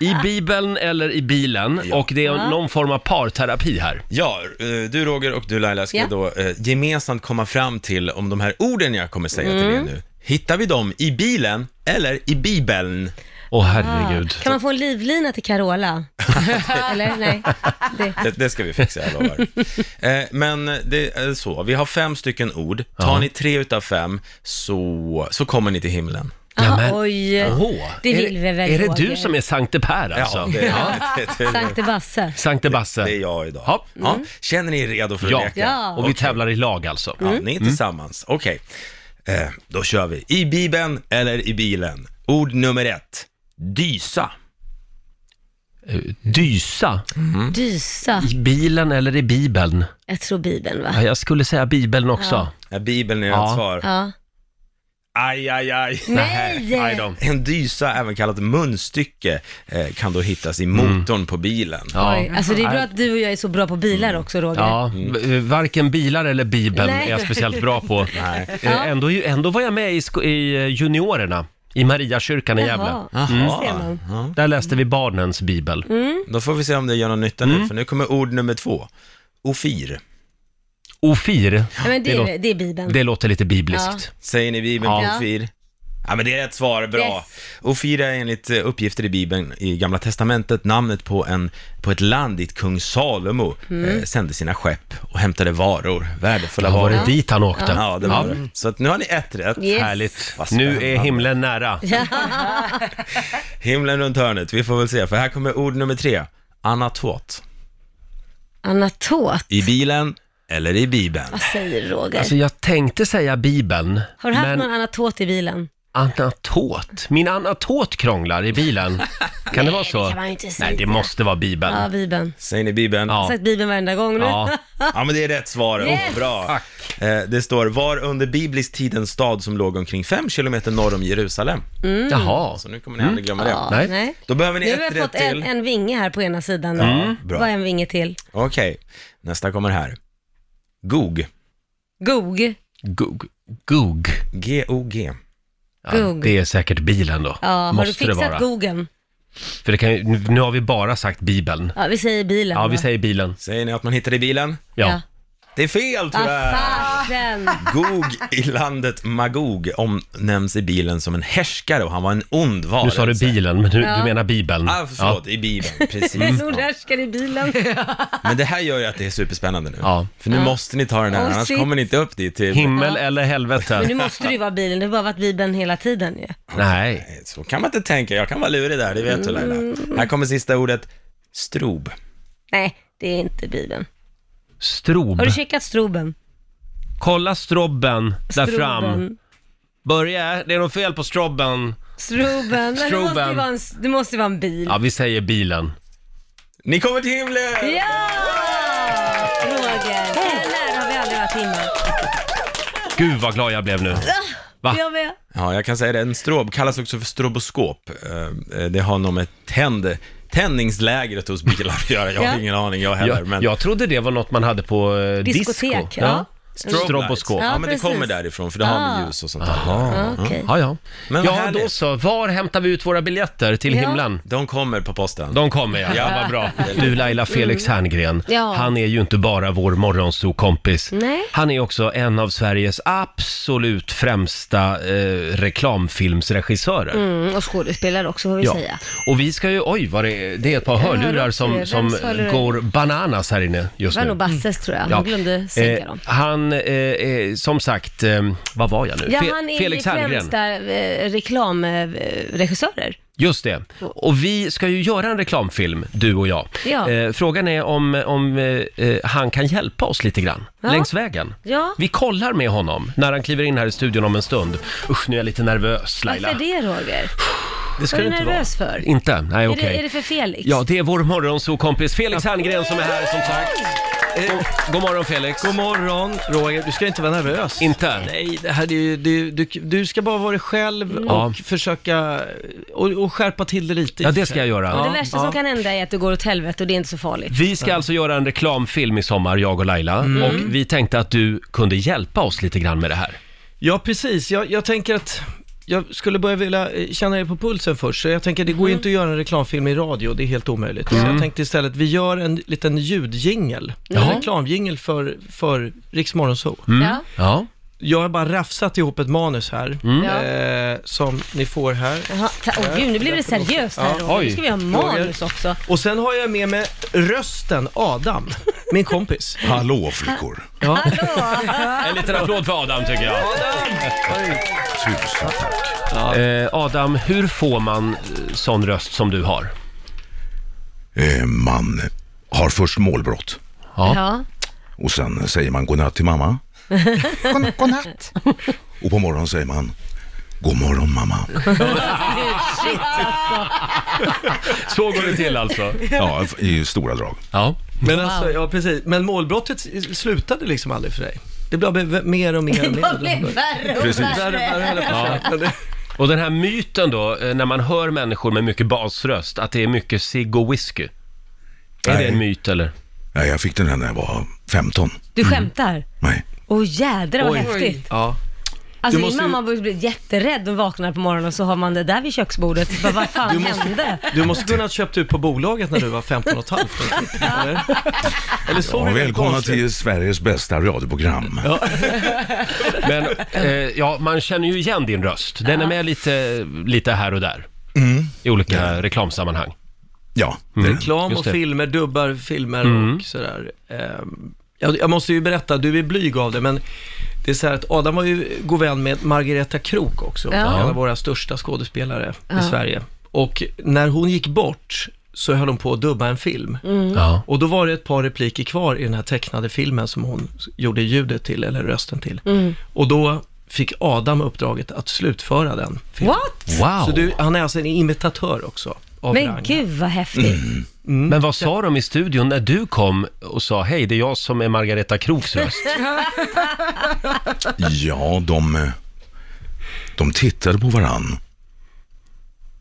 Speaker 1: I Bibeln eller i bilen. Och det är någon form av parterapi här.
Speaker 9: Ja, eh, du Roger och du Laila ska
Speaker 2: Ja.
Speaker 9: då eh, gemensamt komma fram till om de här orden jag kommer säga till er nu. Hittar vi dem i bilen eller i bibeln?
Speaker 1: Åh herregud.
Speaker 2: Kan man få en livlina till Carola? Eller? Nej. Det.
Speaker 9: Det, det ska vi fixa, jag lovar. Eh, men det är så, vi har fem stycken ord. Tar ni tre utav fem så, så kommer ni till himlen.
Speaker 1: Nämen.
Speaker 2: Ah, oj.
Speaker 1: Åh,
Speaker 2: Det vill
Speaker 1: är,
Speaker 2: vi väl,
Speaker 1: Är det
Speaker 2: Roger?
Speaker 1: du som är Sankte Per alltså?
Speaker 9: Ja, det, ja. Det, det, det,
Speaker 2: Sankte Basse.
Speaker 1: Sankte Basse.
Speaker 9: är jag idag.
Speaker 1: Ja.
Speaker 9: Ja. Känner ni er redo för att
Speaker 1: Mm. Ja.
Speaker 9: leka?
Speaker 2: Ja. Mm.
Speaker 1: Och vi tävlar i lag alltså.
Speaker 9: Ja, ni är tillsammans. Okej, eh, då kör vi. I Bibeln eller i bilen? Ord nummer ett. Dysa.
Speaker 1: Eh, Dysa.
Speaker 2: Dysa.
Speaker 1: I bilen eller i Bibeln?
Speaker 2: Jag tror Bibeln va?
Speaker 1: Ja, Jag skulle säga Bibeln också.
Speaker 9: Ja, Bibeln är rätt
Speaker 1: Ja.
Speaker 9: svar.
Speaker 2: Ja.
Speaker 9: Aj, aj, aj.
Speaker 1: Aj
Speaker 2: Nej!
Speaker 1: då.
Speaker 9: En dysa, även kallat munstycke, eh, kan då hittas i
Speaker 1: Mm.
Speaker 9: motorn på bilen.
Speaker 1: Ja. Mm.
Speaker 2: Oj. Alltså det är bra att du och jag är så bra på bilar också Roger.
Speaker 1: Ja,
Speaker 9: Mm.
Speaker 1: v- varken bilar eller Bibeln
Speaker 2: Nej.
Speaker 1: är jag speciellt bra på.
Speaker 9: Nej.
Speaker 1: Eh, Ändå, ändå var jag med i, sko- i eh, juniorerna i Mariakyrkan i Gävle.
Speaker 2: Jaha. ser
Speaker 9: Jaha.
Speaker 2: man.
Speaker 9: Ja.
Speaker 1: Där läste vi barnens bibel.
Speaker 2: Mm.
Speaker 9: Då får vi se om det gör någon nytta
Speaker 1: Mm.
Speaker 9: nu, för nu kommer ord nummer två. Ofir.
Speaker 1: Ofir,
Speaker 2: Nej, men det,
Speaker 1: Det
Speaker 2: är,
Speaker 1: låter-
Speaker 2: det är Bibeln.
Speaker 1: det låter lite bibliskt.
Speaker 9: Säger ni i Bibeln
Speaker 1: Ja.
Speaker 9: ja. ofir? Ja, men det är ett svar, bra.
Speaker 2: Yes.
Speaker 9: Ofir är enligt eh, uppgifter i Bibeln, i Gamla Testamentet, namnet på, en, på ett land dit kung Salomo
Speaker 2: Mm.
Speaker 9: eh, sände sina skepp och hämtade varor, värdefulla
Speaker 1: Ja. Var
Speaker 9: varor.
Speaker 1: det dit han åkte?
Speaker 9: Ja, det var det. Så att nu har ni ett rätt.
Speaker 2: Yes.
Speaker 1: Härligt.
Speaker 9: Vad
Speaker 1: Nu är
Speaker 9: spännande.
Speaker 1: himlen nära.
Speaker 9: Himlen runt hörnet, vi får väl se, för här kommer ord nummer tre. Anatot.
Speaker 2: Anatot,
Speaker 9: I bilen eller i Bibeln?
Speaker 2: vad säger Roger?
Speaker 1: Alltså jag tänkte säga bibeln,
Speaker 2: Har du haft
Speaker 1: men
Speaker 2: någon anatot i bilen?
Speaker 1: anatot. Min anatot krånglar i bilen. Kan det vara så?
Speaker 2: det kan man ju inte säga.
Speaker 1: Nej, det måste vara bibeln.
Speaker 2: Ja, Bibeln.
Speaker 9: Säger ni Bibeln?
Speaker 2: Jag har
Speaker 1: Ja.
Speaker 2: sagt Bibeln varenda gång nu.
Speaker 1: Ja.
Speaker 9: Ja men det är rätt svar,
Speaker 2: Yes!
Speaker 9: oh, bra. Eh, det står, var under biblisk tid en stad som låg omkring 5 kilometer norr om Jerusalem.
Speaker 2: Mm.
Speaker 1: Jaha.
Speaker 9: Så nu kommer ni aldrig glömma
Speaker 2: Ja,
Speaker 9: det.
Speaker 1: Nej.
Speaker 2: nej.
Speaker 9: Då behöver ni
Speaker 2: Nu har
Speaker 9: ett
Speaker 2: jag fått
Speaker 9: rätt
Speaker 2: en,
Speaker 9: till. Mm.
Speaker 2: en vinge här på ena sidan.
Speaker 9: bra.
Speaker 2: Vad är en vinge till?
Speaker 9: Okej, nästa kommer här. GOG.
Speaker 2: Gog.
Speaker 1: Gug. Gug.
Speaker 9: G-O-G.
Speaker 1: Ja,
Speaker 2: Gug.
Speaker 1: det är säkert bilen då.
Speaker 2: Ja, har du
Speaker 1: måste det
Speaker 2: fixat
Speaker 1: vara.
Speaker 2: gogen?
Speaker 1: För det kan, ju- nu nu har vi bara sagt bibeln.
Speaker 2: Ja, vi säger bilen.
Speaker 1: Ja,
Speaker 2: va?
Speaker 1: vi säger bilen.
Speaker 9: Säger ni att man hittar i bilen?
Speaker 1: Ja.
Speaker 9: Det är fel
Speaker 2: Vad
Speaker 9: tyvärr!
Speaker 2: fasen!
Speaker 9: GOG i landet Magog omnämns i bilen som en härskare och han var en ond varelse.
Speaker 1: Nu sa du bilen, men du, du menar bibeln.
Speaker 9: Ah, förlåt, i Bibeln, precis.
Speaker 2: Hon härskar i bilen.
Speaker 9: Men det här gör ju att det är superspännande nu.
Speaker 1: Ja.
Speaker 9: För nu måste ni ta den här,
Speaker 2: Oh,
Speaker 9: annars
Speaker 2: shit.
Speaker 9: kommer ni inte upp dit till...
Speaker 1: Himmel eller
Speaker 2: Men nu
Speaker 1: helvete?
Speaker 2: måste du ju vara bilen, det har bara varit Bibeln hela tiden ju.
Speaker 1: Nej.
Speaker 9: Eh, Så kan man inte tänka, jag kan vara lurig där, det vet du Laila. Här kommer sista ordet, strob.
Speaker 2: Nej, det är inte Bibeln.
Speaker 1: Strob.
Speaker 2: Har du checkat stroben?
Speaker 1: Kolla strobben där
Speaker 2: Stroben.
Speaker 1: fram. Börja, det är något fel på strobben.
Speaker 2: Stroben. Nej, Det, måste ju
Speaker 1: Stroben.
Speaker 2: vara en, det måste ju vara en bil.
Speaker 1: Ja, vi säger bilen.
Speaker 9: Ni kommer till himlen!
Speaker 2: Ja! Roger, eller har vi aldrig varit innan.
Speaker 1: Gud vad glad jag blev nu. Va? Mm.
Speaker 2: Jag med.
Speaker 9: Ja, jag kan säga det, en strob kallas också för stroboskop. Eh, Det har nog med tänd, tändningslägret hos bilar att göra, jag har
Speaker 2: Ja.
Speaker 9: ingen aning jag heller.
Speaker 1: Jag,
Speaker 9: Men
Speaker 1: jag trodde det var något man hade på eh, disco.
Speaker 2: Diskotek, ja.
Speaker 9: Strobe
Speaker 1: Stroboskop.
Speaker 9: lights.
Speaker 2: Ja,
Speaker 9: Ja, men det
Speaker 2: precis.
Speaker 9: kommer därifrån för det har
Speaker 2: Ah.
Speaker 9: med ljus och sånt där
Speaker 1: Jaha.
Speaker 9: Ja.
Speaker 2: Okej.
Speaker 1: Ja, ja.
Speaker 9: Men vad
Speaker 1: ja,
Speaker 9: härligt.
Speaker 1: då så. Var hämtar vi ut våra biljetter till
Speaker 2: Ja.
Speaker 1: himlen?
Speaker 9: De kommer på posten.
Speaker 1: De kommer ja. ja, vad bra. Du Laila, Felix Herngren,
Speaker 2: Mm. Ja.
Speaker 1: han är ju inte bara vår morgonsokompis.
Speaker 2: Nej.
Speaker 1: Han är också en av Sveriges absolut främsta eh, reklamfilmsregissörer.
Speaker 2: Mm, och skådespelare också får vi säga.
Speaker 1: Och vi ska ju, oj vad det är, det är ett par hörlurar
Speaker 2: hörlurar
Speaker 1: som,
Speaker 2: till.
Speaker 1: som
Speaker 2: Vems hörlurar?
Speaker 1: går bananas här inne
Speaker 2: Det
Speaker 1: just
Speaker 2: var nog
Speaker 1: nu.
Speaker 2: Basses tror jag, han
Speaker 1: Mm. Ja.
Speaker 2: glömde sänka
Speaker 1: Eh,
Speaker 2: dem.
Speaker 1: han, eh, eh, som sagt, eh, vad var jag nu?
Speaker 2: Ja,
Speaker 1: Fe-
Speaker 2: han är
Speaker 1: Felix
Speaker 2: ju
Speaker 1: Herngren.
Speaker 2: främsta eh, reklamregissörer.
Speaker 1: Just det. Och vi ska ju göra en reklamfilm, du och jag.
Speaker 2: Ja.
Speaker 1: Eh, frågan är om, om eh, eh, han kan hjälpa oss lite grann
Speaker 2: Ja.
Speaker 1: längs vägen.
Speaker 2: Ja.
Speaker 1: Vi kollar med honom när han kliver in här i studion om en stund. Usch, nu är jag lite nervös Laila.
Speaker 2: Varför det Roger?
Speaker 1: Det ska
Speaker 2: Vad
Speaker 1: du
Speaker 2: är du
Speaker 1: inte vara.
Speaker 2: nervös för?
Speaker 1: Inte? Nej,
Speaker 2: Är,
Speaker 1: okej.
Speaker 2: det, är det för Felix?
Speaker 1: Ja, det är vår morgonsokompis Felix Herngren som är här som sagt. God, god morgon Felix.
Speaker 10: God morgon Roger, du ska inte vara nervös.
Speaker 1: Inte?
Speaker 10: Nej, det här är ju, du, du, du ska bara vara dig själv
Speaker 7: Mm.
Speaker 1: Ja.
Speaker 10: och försöka och, och skärpa till det lite.
Speaker 1: Ja, det ska jag göra.
Speaker 2: Och det värsta som kan hända är att det går åt helvete och det är inte så farligt.
Speaker 1: Vi ska alltså göra en reklamfilm i sommar, jag och Laila. Och vi tänkte att du kunde hjälpa oss lite grann med det här.
Speaker 10: Ja, precis. Jag, jag tänker att jag skulle börja vilja eh, känna er på pulsen först, så jag tänker det går
Speaker 7: Mm.
Speaker 10: ju inte att göra en reklamfilm i radio, det är helt omöjligt. Så jag tänkte istället, vi gör en liten ljudjingel, en reklamjingel för, för Rix Morgon Zoo.
Speaker 2: Ja.
Speaker 1: Mm. Ja.
Speaker 10: Jag har bara rafsat ihop ett manus här,
Speaker 1: Mm.
Speaker 2: Ja.
Speaker 10: eh, som ni får här.
Speaker 2: Jaha, ta- Åh gud, nu blir det seriöst här Roger. Nu ska vi ha manus också.
Speaker 10: Och sen har jag med mig rösten Adam, min kompis.
Speaker 4: Hallå flickor.
Speaker 1: En liten applåd för Adam tycker jag.
Speaker 4: Tusen tack.
Speaker 1: Eh, Adam, hur får man eh, sån röst som du har?
Speaker 4: Eh, man har först målbrott
Speaker 2: Ja.
Speaker 4: och sen säger man godnatt till mamma. God, godnatt. Och på morgonen säger man God morgon mamma.
Speaker 1: Så går det till alltså?
Speaker 4: Ja, i stora drag.
Speaker 1: Ja.
Speaker 10: Men alltså, ja precis. Men målbrottet s- slutade liksom aldrig för dig. Det blev v- mer och mer och mer.
Speaker 2: Det blir värre och
Speaker 4: Precis.
Speaker 10: Värre,
Speaker 2: värre.
Speaker 10: värre, höll jag på att säga. Men det-
Speaker 1: Och den här myten då, eh, när man hör människor med mycket basröst, att det är mycket cigg och whisky. Är det
Speaker 4: Nej.
Speaker 1: en myt eller?
Speaker 4: Nej, jag fick den här när jag var 15.
Speaker 2: Du skämtar?
Speaker 4: Nej.
Speaker 2: Åh jädrar vad
Speaker 10: Oj.
Speaker 2: häftigt.
Speaker 10: Ja.
Speaker 2: Alltså
Speaker 10: Du
Speaker 2: min
Speaker 10: måste ju-
Speaker 2: mamma ju... blir jätterädd. Hon vaknar på morgonen och så har man det där vid köksbordet. Bara, vad fan hände?
Speaker 10: Du måste kunna ha köpt ut på bolaget när du var 15 och ett halvt. Eller, eller så
Speaker 4: Ja,
Speaker 10: är det
Speaker 4: välkomna
Speaker 10: konstigt.
Speaker 4: till Sveriges bästa radioprogram.
Speaker 1: Men eh, ja, man känner ju igen din röst. Den är med lite, lite här och där.
Speaker 10: Mm.
Speaker 1: I olika reklamsammanhang.
Speaker 4: Ja,
Speaker 10: Reklam
Speaker 1: Just
Speaker 10: och
Speaker 1: det. Mm.
Speaker 10: filmer, dubbar filmer och sådär. Ehm, Jag, jag måste ju berätta, du är blyg av det, men det är så här att Adam var ju god vän med Margareta Krook också, en av våra största skådespelare i Sverige. Och när hon gick bort så höll hon på att dubba en film.
Speaker 1: Ja.
Speaker 10: Och då var det ett par repliker kvar i den här tecknade filmen som hon s- gjorde ljudet till, eller rösten till. Och då fick Adam uppdraget att slutföra den filmen.
Speaker 2: What?
Speaker 1: Wow!
Speaker 10: Så du, han är alltså en imitatör också. Av Mm.
Speaker 2: Men
Speaker 10: rang.
Speaker 2: gud vad häftigt.
Speaker 1: Men vad sa de i studion när du kom och sa hej, det är jag som är Margareta Kroks röst?
Speaker 4: ja de, eh, de tittade på varann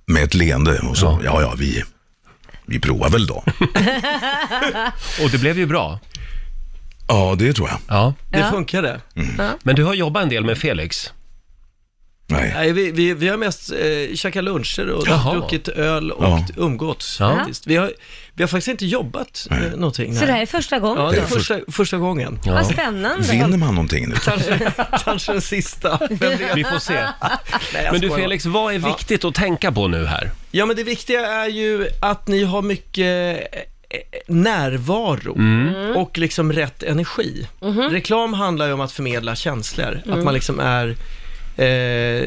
Speaker 4: med ett leende och så, ja, ja, vi, vi provar väl då.
Speaker 1: Och det blev ju bra.
Speaker 4: Ja, det tror jag.
Speaker 1: Ja.
Speaker 10: Det funkade.
Speaker 1: Men du har jobbat en del med Felix.
Speaker 4: Nej.
Speaker 10: Nej, vi, vi, vi har mest eh, käkat luncher och
Speaker 1: Jaha.
Speaker 10: druckit öl och
Speaker 4: Ja.
Speaker 10: umgåtts
Speaker 1: Ja.
Speaker 10: faktiskt. Vi har, vi har faktiskt inte jobbat eh, någonting.
Speaker 2: Så det här
Speaker 10: nej.
Speaker 2: är första gången?
Speaker 10: Ja, det är
Speaker 4: Det är
Speaker 10: första, första gången.
Speaker 2: Vad spännande.
Speaker 4: Vinner man någonting nu?
Speaker 10: Kanske, kanske den sista. Vem vet?
Speaker 1: Vi får se.
Speaker 10: Nej, jag
Speaker 1: Men du
Speaker 10: skojar.
Speaker 1: Felix, vad är viktigt att tänka på nu här?
Speaker 10: Ja, men det viktiga är ju att ni har mycket eh, närvaro
Speaker 1: Mm.
Speaker 10: och liksom rätt energi.
Speaker 2: Mhm.
Speaker 10: Reklam handlar ju om att förmedla känslor,
Speaker 2: Mm.
Speaker 10: att man liksom är... Eh,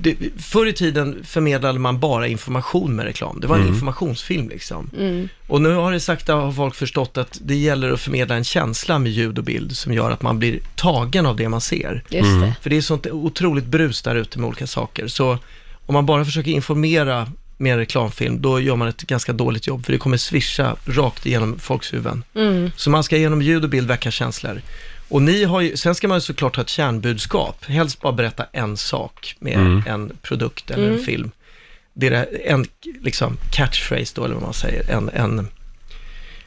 Speaker 10: det, förr i tiden förmedlade man bara information med reklam. Det var
Speaker 1: Mm.
Speaker 10: en informationsfilm liksom.
Speaker 2: Mm.
Speaker 10: Och nu har det sakta har folk förstått att det gäller att förmedla en känsla med ljud och bild som gör att man blir tagen av det man ser.
Speaker 2: Just
Speaker 1: Mm.
Speaker 2: det.
Speaker 10: För det är sånt otroligt brus där ute med olika saker. Så om man bara försöker informera med en reklamfilm, då gör man ett ganska dåligt jobb, för det kommer svischa rakt igenom folks huvuden. Så man ska genom ljud och bild väcka känslor. Och ni har ju, sen ska man ju såklart ha ett kärnbudskap, helst bara berätta en sak med
Speaker 1: Mm.
Speaker 10: en produkt eller en film. Det är det- en liksom, catchphrase då, eller vad man säger, en, en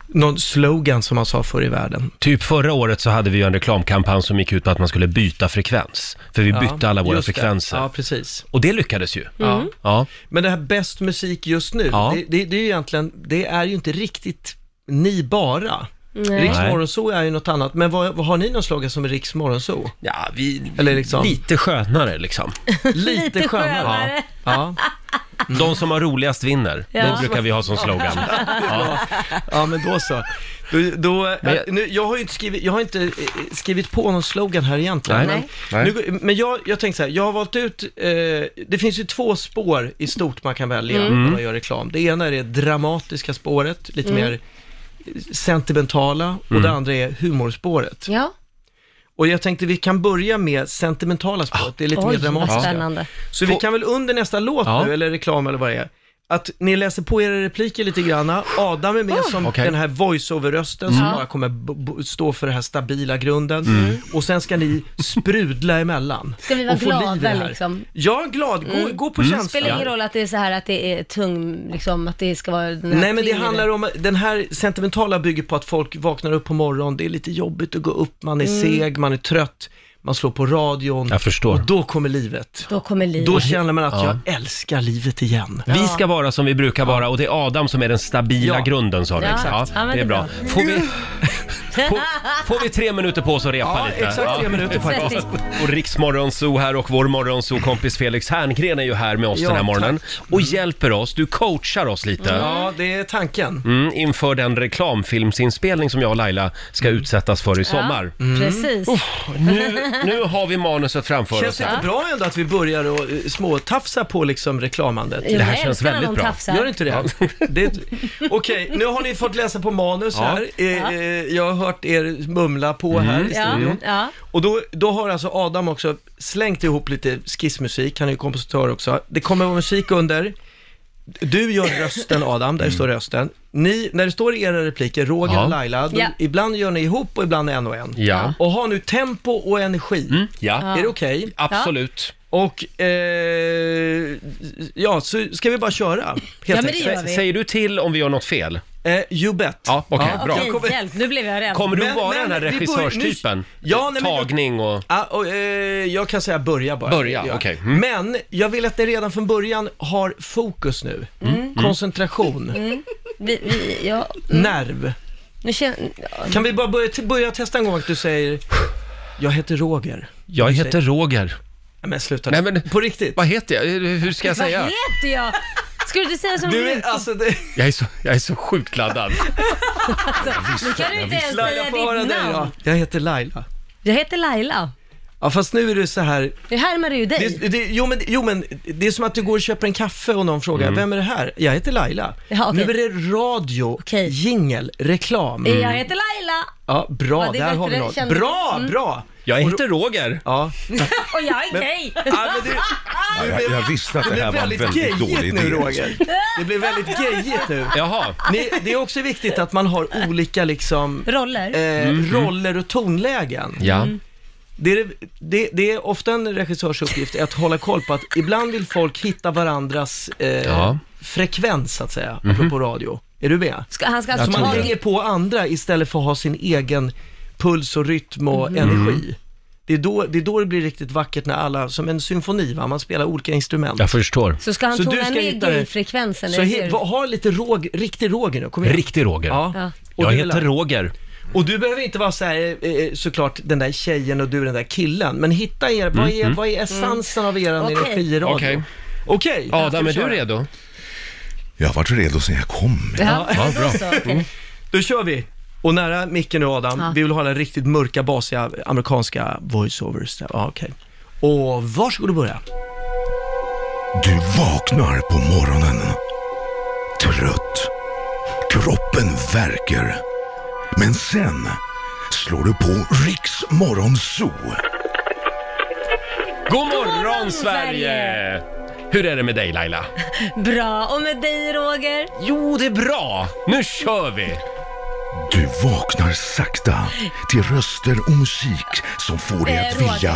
Speaker 10: någon slogan som man sa förr i världen.
Speaker 1: Typ förra året så hade vi ju en reklamkampanj som gick ut på att man skulle byta frekvens. För vi
Speaker 10: Ja,
Speaker 1: bytte alla våra
Speaker 10: just det.
Speaker 1: frekvenser.
Speaker 10: Ja, Mm. precis.
Speaker 1: Och det lyckades ju.
Speaker 10: Ja.
Speaker 1: Ja.
Speaker 10: Men det här bäst musik just nu,
Speaker 1: Ja.
Speaker 10: det, det, det är ju egentligen, det är ju inte riktigt ni bara.
Speaker 1: Nej.
Speaker 10: Riksmorgonzoo är ju något annat, men vad, vad har ni någon slogan som är Riksmorgonzoo?
Speaker 1: Ja, vi...
Speaker 10: Eller liksom,
Speaker 1: Lite skönare liksom.
Speaker 10: lite skönare. Ja.
Speaker 1: De som har roligast vinner.
Speaker 10: Ja.
Speaker 1: Det brukar vi ha som slogan. Ja.
Speaker 10: Ja. ja, men då så. Då, då,
Speaker 1: Men
Speaker 10: men
Speaker 1: jag-
Speaker 10: jag, nu, jag har ju inte skrivit, jag har inte eh, skrivit på någon slogan här egentligen.
Speaker 1: Nej.
Speaker 10: Men,
Speaker 1: Nej.
Speaker 10: Nu, men jag, jag tänkte så här, jag har valt ut, eh, det finns ju två spår i stort man kan välja
Speaker 1: Mm.
Speaker 10: när man gör reklam. Det ena är det dramatiska spåret, lite
Speaker 2: Mm.
Speaker 10: mer eh, sentimentala, och
Speaker 1: Mm.
Speaker 10: det andra är humorspåret.
Speaker 2: Ja.
Speaker 10: Och jag tänkte vi kan börja med sentimentala
Speaker 1: Ah.
Speaker 10: spåret, det är lite mer
Speaker 2: Oj,
Speaker 10: dramatiskt.
Speaker 2: vad spännande.
Speaker 10: Så vi kan väl under nästa låt
Speaker 1: Ja.
Speaker 10: nu, eller reklam eller vad det är, att ni läser på era repliker lite granna. Adam är med
Speaker 2: Ah,
Speaker 10: som
Speaker 1: Okej.
Speaker 10: den här voice-over-rösten som
Speaker 1: Mm.
Speaker 10: bara kommer b- b- stå för den här stabila grunden. Och sen ska ni sprudla emellan.
Speaker 2: Mm. Ska vi vara
Speaker 10: och få liv i det
Speaker 2: glada
Speaker 10: här.
Speaker 2: liksom?
Speaker 10: Ja, glad. Gå,
Speaker 2: Mm.
Speaker 10: gå på
Speaker 2: Det
Speaker 10: känslan.
Speaker 2: spelar ingen roll att det är så här att det är tung, liksom att det ska vara den här
Speaker 10: Nej men det
Speaker 2: tyngre.
Speaker 10: handlar om, den här sentimentala bygger på att folk vaknar upp på morgonen, det är lite jobbigt att gå upp, man är
Speaker 2: Mm.
Speaker 10: seg, man är trött, man slår på radion.
Speaker 1: Jag förstår.
Speaker 10: Och då kommer livet.
Speaker 2: Då kommer livet.
Speaker 10: Då känner man att
Speaker 1: Ja.
Speaker 10: jag älskar livet igen.
Speaker 1: Vi ska vara som vi brukar vara och det är Adam som är den stabila
Speaker 10: Ja.
Speaker 1: grunden sa vi.
Speaker 2: Ja,
Speaker 1: Ja,
Speaker 2: exakt. Ja, men
Speaker 1: det är
Speaker 2: det är
Speaker 1: bra. Får vi, får, får vi tre minuter på oss att repa
Speaker 10: Ja,
Speaker 1: lite?
Speaker 10: exakt tre minuter faktiskt.
Speaker 1: Och Riksmorgonzoo här och vår morgonzoo-kompis Felix Herngren är ju här med oss
Speaker 10: Ja, Mm.
Speaker 1: den här morgonen och hjälper oss. Du coachar oss lite.
Speaker 10: Ja, det är tanken.
Speaker 1: Mm, inför den reklamfilmsinspelning som jag och Laila ska utsättas för i sommar.
Speaker 2: Ja,
Speaker 10: Mm.
Speaker 2: Precis.
Speaker 1: Nu, nu har vi manuset framför
Speaker 10: Känns
Speaker 1: oss.
Speaker 10: det
Speaker 1: här.
Speaker 10: inte bra ändå att vi börjar och eh, småtafsa på liksom reklamandet?
Speaker 2: Jo,
Speaker 1: Det här
Speaker 2: jag
Speaker 1: känns
Speaker 2: älskar när
Speaker 1: väldigt
Speaker 2: de
Speaker 1: bra.
Speaker 2: tafsar.
Speaker 10: Gör inte det? det Okej, nu har ni fått läsa på manus
Speaker 1: Ja. Mm,
Speaker 10: här. Eh, eh, Jag har hört er mumla på här i
Speaker 2: Ja,
Speaker 10: studion.
Speaker 2: ja.
Speaker 10: Och då, då har alltså Adam också slängt ihop lite skissmusik, han är ju kompositör också. Det kommer vara musik under. Du gör rösten Adam, där står rösten. Ni, när det står i era repliker, Roger
Speaker 1: Mm. Ja.
Speaker 10: och Laila, då,
Speaker 2: Ja.
Speaker 10: ibland gör ni ihop och ibland en och en.
Speaker 1: Ja.
Speaker 10: Och har nu tempo och energi.
Speaker 1: Mm, ja,
Speaker 10: Är det okej?
Speaker 1: absolut.
Speaker 10: Och, eh, ja, så ska vi bara köra, helt
Speaker 2: men det
Speaker 10: enkelt.
Speaker 2: gör vi.
Speaker 1: Säger du till om vi gör något fel?
Speaker 10: Eh, you bet.
Speaker 1: Ja, okej, bra.
Speaker 2: Okej,
Speaker 10: kommer-
Speaker 2: hjälp. Nu blev jag rädd.
Speaker 1: Kommer du
Speaker 10: Men-
Speaker 1: vara
Speaker 10: men
Speaker 1: den här
Speaker 10: vi börjar-
Speaker 1: regissörstypen?
Speaker 10: nu- Ja, nej, men-
Speaker 1: Tagning och...
Speaker 10: Ah, och, eh, jag kan säga börja bara.
Speaker 1: Börja,
Speaker 10: Ja.
Speaker 1: okej. Mm.
Speaker 10: Men jag vill att ni redan från början har fokus nu.
Speaker 1: Mm.
Speaker 10: Mm. Koncentration,
Speaker 2: Vi, vi, ja.
Speaker 10: nerv.
Speaker 2: Nu känner... Ja.
Speaker 10: Kan vi bara börja, t- börja testa en gång att du säger Jag heter Roger.
Speaker 1: Jag heter Roger.
Speaker 10: Nej, men sluta
Speaker 1: Nej, men-
Speaker 10: På riktigt.
Speaker 1: Vad heter jag? Hur ska jag
Speaker 2: Vad
Speaker 1: säga?
Speaker 2: heter jag? Ska du inte säga som
Speaker 10: Du
Speaker 2: du
Speaker 10: är, alltså, det,
Speaker 1: Jag är så, jag är så sjukt laddad.
Speaker 2: Nu kan du inte ens
Speaker 10: Laila
Speaker 2: säga
Speaker 10: får höra
Speaker 2: ditt
Speaker 10: dig
Speaker 2: namn.
Speaker 10: då. Jag heter Laila.
Speaker 2: Jag heter Laila.
Speaker 10: Ja, fast nu är du så här,
Speaker 2: Nu härmar du ju dig.
Speaker 10: Det, det, jo, men, jo, men det är som att du går och köper en kaffe och någon frågar, vem är det här? Jag heter Laila.
Speaker 2: Mm. Ja, okej.
Speaker 10: Nu är det radio,
Speaker 2: Okej.
Speaker 10: jingel, reklam.
Speaker 2: Jag heter Laila.
Speaker 10: Ja, bra,
Speaker 2: Ja, det är
Speaker 10: där har vi
Speaker 2: bättre,
Speaker 10: något.
Speaker 2: kände du.
Speaker 10: Bra,
Speaker 2: Mm.
Speaker 10: bra!
Speaker 1: Jag heter Roger.
Speaker 10: Ja.
Speaker 2: Och jag är gay.
Speaker 10: Ja, men det,
Speaker 4: Ja, jag, jag visste att
Speaker 10: det
Speaker 4: det här
Speaker 10: blev
Speaker 4: var en
Speaker 10: väldigt,
Speaker 4: väldigt dålig
Speaker 10: gayigt
Speaker 4: idé.
Speaker 10: nu Roger. Det blev väldigt gayigt nu.
Speaker 1: Jaha.
Speaker 10: Ni, det är också viktigt att man har olika liksom, eh,
Speaker 2: Roller. Mm.
Speaker 10: roller och tonlägen.
Speaker 1: Ja.
Speaker 10: Det är, det, det är ofta en regissörs uppgift att hålla koll på att ibland vill folk hitta varandras eh,
Speaker 1: Ja. Mhm.
Speaker 10: frekvens, så att säga, apropå radio. Är du med?
Speaker 2: Ska, han ska
Speaker 10: Så
Speaker 2: alltså
Speaker 10: man
Speaker 2: ha
Speaker 10: hänger på andra istället för att ha sin egen puls och rytm och
Speaker 1: Mhm.
Speaker 10: energi. Det är, då, det är då det blir riktigt vackert när alla, som en symfoni va, man spelar olika instrument.
Speaker 1: Jag förstår.
Speaker 2: Så ska han
Speaker 10: Så du
Speaker 2: tona
Speaker 10: ska
Speaker 2: ner
Speaker 10: hitta det.
Speaker 2: gayfrekvensen?
Speaker 10: Så
Speaker 2: är det
Speaker 10: he,
Speaker 2: det?
Speaker 10: va- ha lite råg, riktig råg nu, kom igen.
Speaker 1: Riktig Roger.
Speaker 10: Ja.
Speaker 2: Ja.
Speaker 10: Och
Speaker 1: Jag
Speaker 10: du är
Speaker 1: heter
Speaker 10: lärare.
Speaker 1: Roger.
Speaker 10: Och du behöver inte vara så här, eh, eh, såklart den där tjejen och du den där killen, men hitta er, vad, är, vad är essensen av er
Speaker 2: Okej.
Speaker 10: energi i radio?
Speaker 1: Okej.
Speaker 10: Okej. Okej.
Speaker 1: Adam, är
Speaker 10: Ska
Speaker 1: du
Speaker 10: vi köra?
Speaker 1: redo?
Speaker 4: Jag var redo sen jag kom.
Speaker 2: Ja, alltså.
Speaker 1: Ja, bra.
Speaker 2: Så, okej.
Speaker 10: Mm. Då kör vi. Och nära micken nu Adam,
Speaker 2: Ja.
Speaker 10: vi vill ha den riktigt mörka, basiga, amerikanska voiceovers. där. Ja, okej. Och varsågod och börja.
Speaker 4: Du vaknar på morgonen. Trött. Kroppen värker. Men sen slår du på Riks Morgonzoo.
Speaker 1: God morgon,
Speaker 2: morgon,
Speaker 1: Sverige!
Speaker 2: Sverige!
Speaker 1: Hur är det med dig, Laila?
Speaker 2: Bra. Och med dig Roger?
Speaker 1: Jo, det är bra. Nu kör vi!
Speaker 4: Du vaknar sakta till röster och musik som får dig
Speaker 10: Eh,
Speaker 4: att vilja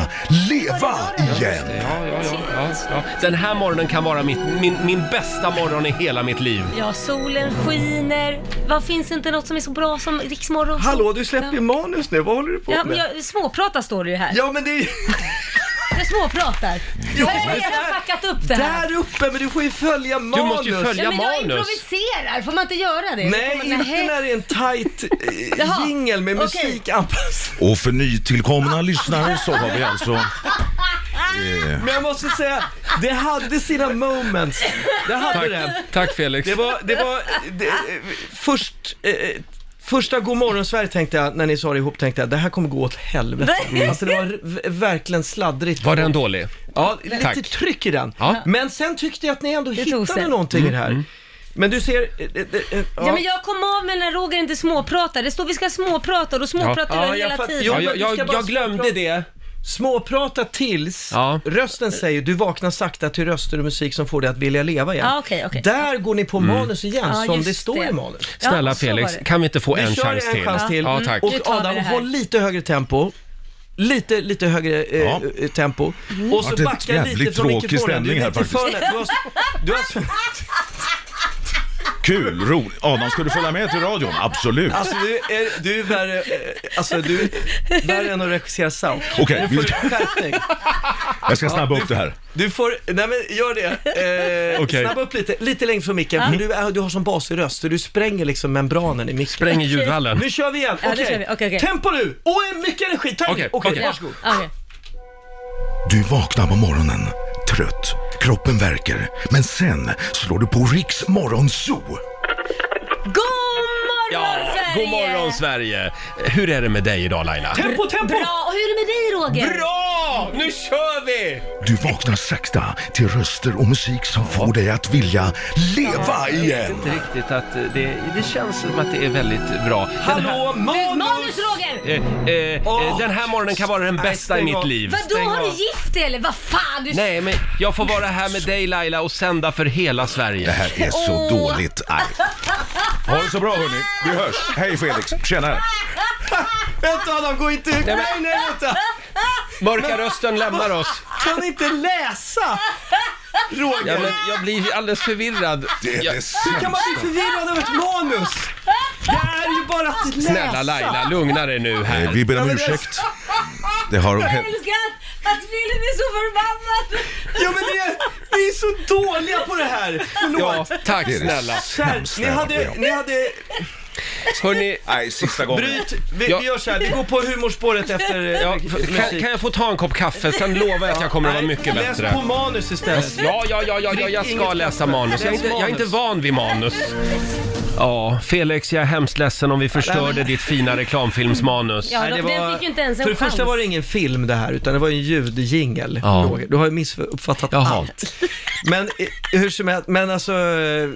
Speaker 4: leva igen.
Speaker 1: Ja, ja, ja, ja, ja. Den här morgonen kan vara mitt, min, min bästa morgon i hela mitt liv.
Speaker 2: Ja, solen skiner. Vad finns inte något som är så bra som Riksmorgon?
Speaker 10: Hallå, du släpper ju
Speaker 2: ja.
Speaker 10: manus nu. Vad håller du på
Speaker 2: Ja, men
Speaker 10: med?
Speaker 2: jag småpratar står det ju här.
Speaker 10: Ja, men det är
Speaker 2: Jag småpratar. jag har redan fuckat upp det här.
Speaker 10: Där uppe, men du får ju följa manus.
Speaker 2: ja, men Jag improviserar, får man inte göra det?
Speaker 10: Nej,
Speaker 2: får man,
Speaker 10: inte när det är en tight
Speaker 2: Jaha,
Speaker 10: eh, jingel med
Speaker 2: okej.
Speaker 10: musik anpassad.
Speaker 4: Och för nytillkomna lyssnare så har vi alltså... Eh,
Speaker 10: Men jag måste säga, det hade sina moments. Det hade
Speaker 1: Tack,
Speaker 10: det.
Speaker 1: tack Felix.
Speaker 10: Det var, det var, det, eh, först, eh, eh, första God morgon Sverige tänkte jag, när ni sa det ihop, tänkte jag det här kommer gå åt helvete.
Speaker 2: Mm.
Speaker 10: Alltså det var v- verkligen sladdrigt.
Speaker 1: Var den dålig?
Speaker 10: Ja, lite
Speaker 1: Tack.
Speaker 10: tryck i den.
Speaker 1: Ja. Mm.
Speaker 10: Men sen tyckte jag att ni ändå
Speaker 2: Det tog
Speaker 10: hittade
Speaker 2: sig.
Speaker 10: någonting i det här. Men du ser, eh, eh, eh, ja.
Speaker 2: ja, men jag kom av med när Roger inte småpratar. Det står vi ska småprata och då småpratar
Speaker 10: Ja,
Speaker 2: jag
Speaker 10: jag
Speaker 2: hela
Speaker 10: fatt-
Speaker 2: tiden.
Speaker 10: jo,
Speaker 1: Ja,
Speaker 10: men
Speaker 1: jag,
Speaker 10: du ska
Speaker 1: jag,
Speaker 10: bara
Speaker 1: jag glömde
Speaker 10: småprata.
Speaker 1: det.
Speaker 10: Småprata tills
Speaker 1: Ja.
Speaker 10: rösten säger du vaknar sakta till röster och musik som får dig att vilja leva igen.
Speaker 2: Ja, okej, okej.
Speaker 10: Där går ni på manus igen
Speaker 2: Ja,
Speaker 10: som
Speaker 2: just
Speaker 10: det står
Speaker 2: det.
Speaker 10: i manus.
Speaker 2: Ja,
Speaker 1: Snälla
Speaker 2: så
Speaker 1: Felix,
Speaker 2: var det.
Speaker 1: kan vi inte få
Speaker 10: Vi
Speaker 1: en
Speaker 10: kör
Speaker 1: chans
Speaker 10: en
Speaker 1: till?
Speaker 10: chans till. Mm.
Speaker 1: Ja, tack.
Speaker 10: Och
Speaker 2: Nu tar vi
Speaker 10: Adam,
Speaker 2: det här.
Speaker 10: håll lite högre tempo. Lite, lite högre eh,
Speaker 4: Ja.
Speaker 10: eh, tempo. Och så
Speaker 4: Vart det
Speaker 10: backa lite
Speaker 4: jävligt
Speaker 10: från
Speaker 4: tråkig
Speaker 10: mikrofonen. Du
Speaker 4: stämning
Speaker 10: är
Speaker 4: här
Speaker 10: lite för
Speaker 4: faktiskt.
Speaker 10: lätt. Du har, du har,
Speaker 4: kul, roligt. Adam, ska du följa med till radion? Absolut.
Speaker 10: alltså du är, du är värre, eh, alltså du är värre än att regissera Sauk.
Speaker 4: Okej,
Speaker 10: Nu får
Speaker 4: vi-
Speaker 10: du skärpning.
Speaker 4: Jag ska snabba upp det här.
Speaker 10: Du får, nej men gör det. Eh,
Speaker 1: Okej.
Speaker 10: Snabba upp lite, lite längre från micken,
Speaker 2: Mm.
Speaker 10: för du, är- du har sån basig röst så du spränger liksom membranen i micken.
Speaker 1: Spräng i ljudvallen.
Speaker 10: Nu kör vi igen,
Speaker 2: Ja, nu
Speaker 10: okej.
Speaker 2: kör vi. Okej, okej.
Speaker 10: Tempo nu! Och en mycket energi, ta i.
Speaker 1: Okej, okej.
Speaker 10: varsågod.
Speaker 2: Ja, okej.
Speaker 4: Du vaknar på morgonen, trött. Kroppen verkar. Men sen slår du på Riks morgonzoo.
Speaker 2: God morgon
Speaker 1: Ja,
Speaker 2: Sverige!
Speaker 1: god morgon Sverige! Hur är det med dig idag Laila?
Speaker 10: Tempo, tempo!
Speaker 2: Bra, och hur är det med dig Roger?
Speaker 1: Bra! Nu kör vi!
Speaker 4: Du vaknar sakta till röster och musik som får dig att vilja leva igen.
Speaker 1: Inte riktigt att eh, det, det känns som att det är väldigt bra. Den här,
Speaker 10: Hallå,
Speaker 2: Manus
Speaker 10: manus!
Speaker 2: Roger!
Speaker 1: eh, eh, eh,
Speaker 10: Åh!
Speaker 1: den här morgonen kan vara den bästa i
Speaker 10: stäng
Speaker 1: mitt
Speaker 10: av.
Speaker 1: liv.
Speaker 2: Vadå,
Speaker 10: stäng
Speaker 2: har du
Speaker 10: av.
Speaker 2: gift dig eller? Vad fan? Du...
Speaker 1: Nej, men jag får vara här med dig Laila och sända för hela
Speaker 4: Det
Speaker 1: Sverige.
Speaker 4: här är så
Speaker 2: Åh.
Speaker 4: dåligt. Aj. Ha det så bra hörni. Vi hörs. Hej Felix. Tjena.
Speaker 10: Vänta Adam, gå inte ut! Nej, nej, vänta!
Speaker 1: Mörka rösten lämnar oss.
Speaker 10: Kan inte läsa! Roger!
Speaker 1: Ja, men jag blir alldeles förvirrad.
Speaker 4: Det är
Speaker 1: Jag-
Speaker 4: det
Speaker 10: Hur kan man bli
Speaker 4: sämsta.
Speaker 10: förvirrad av ett manus? Det är ju bara att läsa!
Speaker 1: Snälla Laila, lugna dig nu
Speaker 4: Eh,
Speaker 1: här.
Speaker 4: Vi ber om
Speaker 10: Ja, men det-
Speaker 4: ursäkt. Det har
Speaker 2: Jag
Speaker 4: hänt.
Speaker 2: älskar att- att Filip är så förbannad!
Speaker 10: Ja men det är, vi är så dåliga på det här!
Speaker 1: Ja,
Speaker 10: Förlåt!
Speaker 1: tack
Speaker 4: Det är det
Speaker 1: snälla.
Speaker 10: Kär,
Speaker 4: sämsta
Speaker 10: ni
Speaker 4: jag har varit
Speaker 10: hade,
Speaker 4: med om.
Speaker 10: ni hade,
Speaker 1: Hörni,
Speaker 4: Nej, sista gången.
Speaker 10: bryt, vi,
Speaker 1: Ja.
Speaker 10: vi gör så här, vi går på humorspåret efter eh,
Speaker 1: ja,
Speaker 10: musik.
Speaker 1: kan, kan jag få ta en kopp kaffe? Sen lovar jag att jag kommer att vara
Speaker 10: Nej,
Speaker 1: mycket
Speaker 10: Läs på
Speaker 1: bättre.
Speaker 10: manus istället.
Speaker 1: Ja, ja, ja, ja, ja jag ska läsa manus. Jag är, inte, jag är inte van vid manus. Ja, Felix, jag är hemskt ledsen om vi förstörde ditt fina reklamfilmsmanus.
Speaker 2: Ja,
Speaker 10: Nej, det
Speaker 2: de- den
Speaker 10: var-
Speaker 2: fick ju inte ens en
Speaker 10: För det
Speaker 2: chans.
Speaker 10: första var det ingen film det här, utan det var en ljudjingel.
Speaker 1: Ja.
Speaker 10: Roger. Du har ju missuppfattat
Speaker 1: Jaha.
Speaker 10: allt. Men eh, hur som helst, men alltså... eh,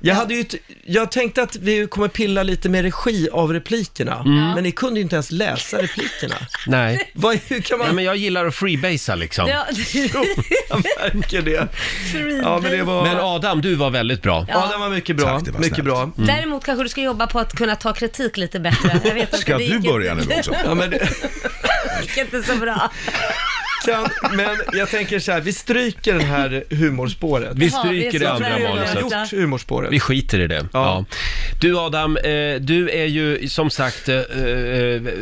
Speaker 10: Jag, hade ju, ett- jag tänkte att vi kommer pilla lite med regi av replikerna,
Speaker 1: Mm.
Speaker 10: men ni kunde ju inte ens läsa replikerna.
Speaker 1: Nej.
Speaker 10: Vad, hur kan
Speaker 1: Nej,
Speaker 10: man
Speaker 1: men jag gillar att freebasea liksom.
Speaker 2: Ja,
Speaker 10: märka det? Ja, men det var...
Speaker 1: Men Adam, du var väldigt bra.
Speaker 10: ja, den var mycket bra.
Speaker 4: Tack, det var
Speaker 10: mycket
Speaker 4: snällt.
Speaker 10: bra.
Speaker 2: Däremot kanske du ska jobba på att kunna ta kritik lite bättre. Jag vet inte,
Speaker 4: Ska
Speaker 2: det gick
Speaker 4: du börja
Speaker 2: inte,
Speaker 4: nu också?
Speaker 10: Ja, men, det-
Speaker 2: Det gick inte så bra.
Speaker 10: kan, men jag tänker så här, vi stryker det här humorspåret.
Speaker 1: Vi
Speaker 2: Jaha,
Speaker 1: stryker
Speaker 2: det
Speaker 1: det
Speaker 2: är så
Speaker 1: andra
Speaker 2: bra.
Speaker 10: har
Speaker 1: manuset.
Speaker 10: gjort humorspåret.
Speaker 1: Vi skiter i det. Ja.
Speaker 10: Ja.
Speaker 1: Du Adam, eh, du är ju som sagt, eh, eh,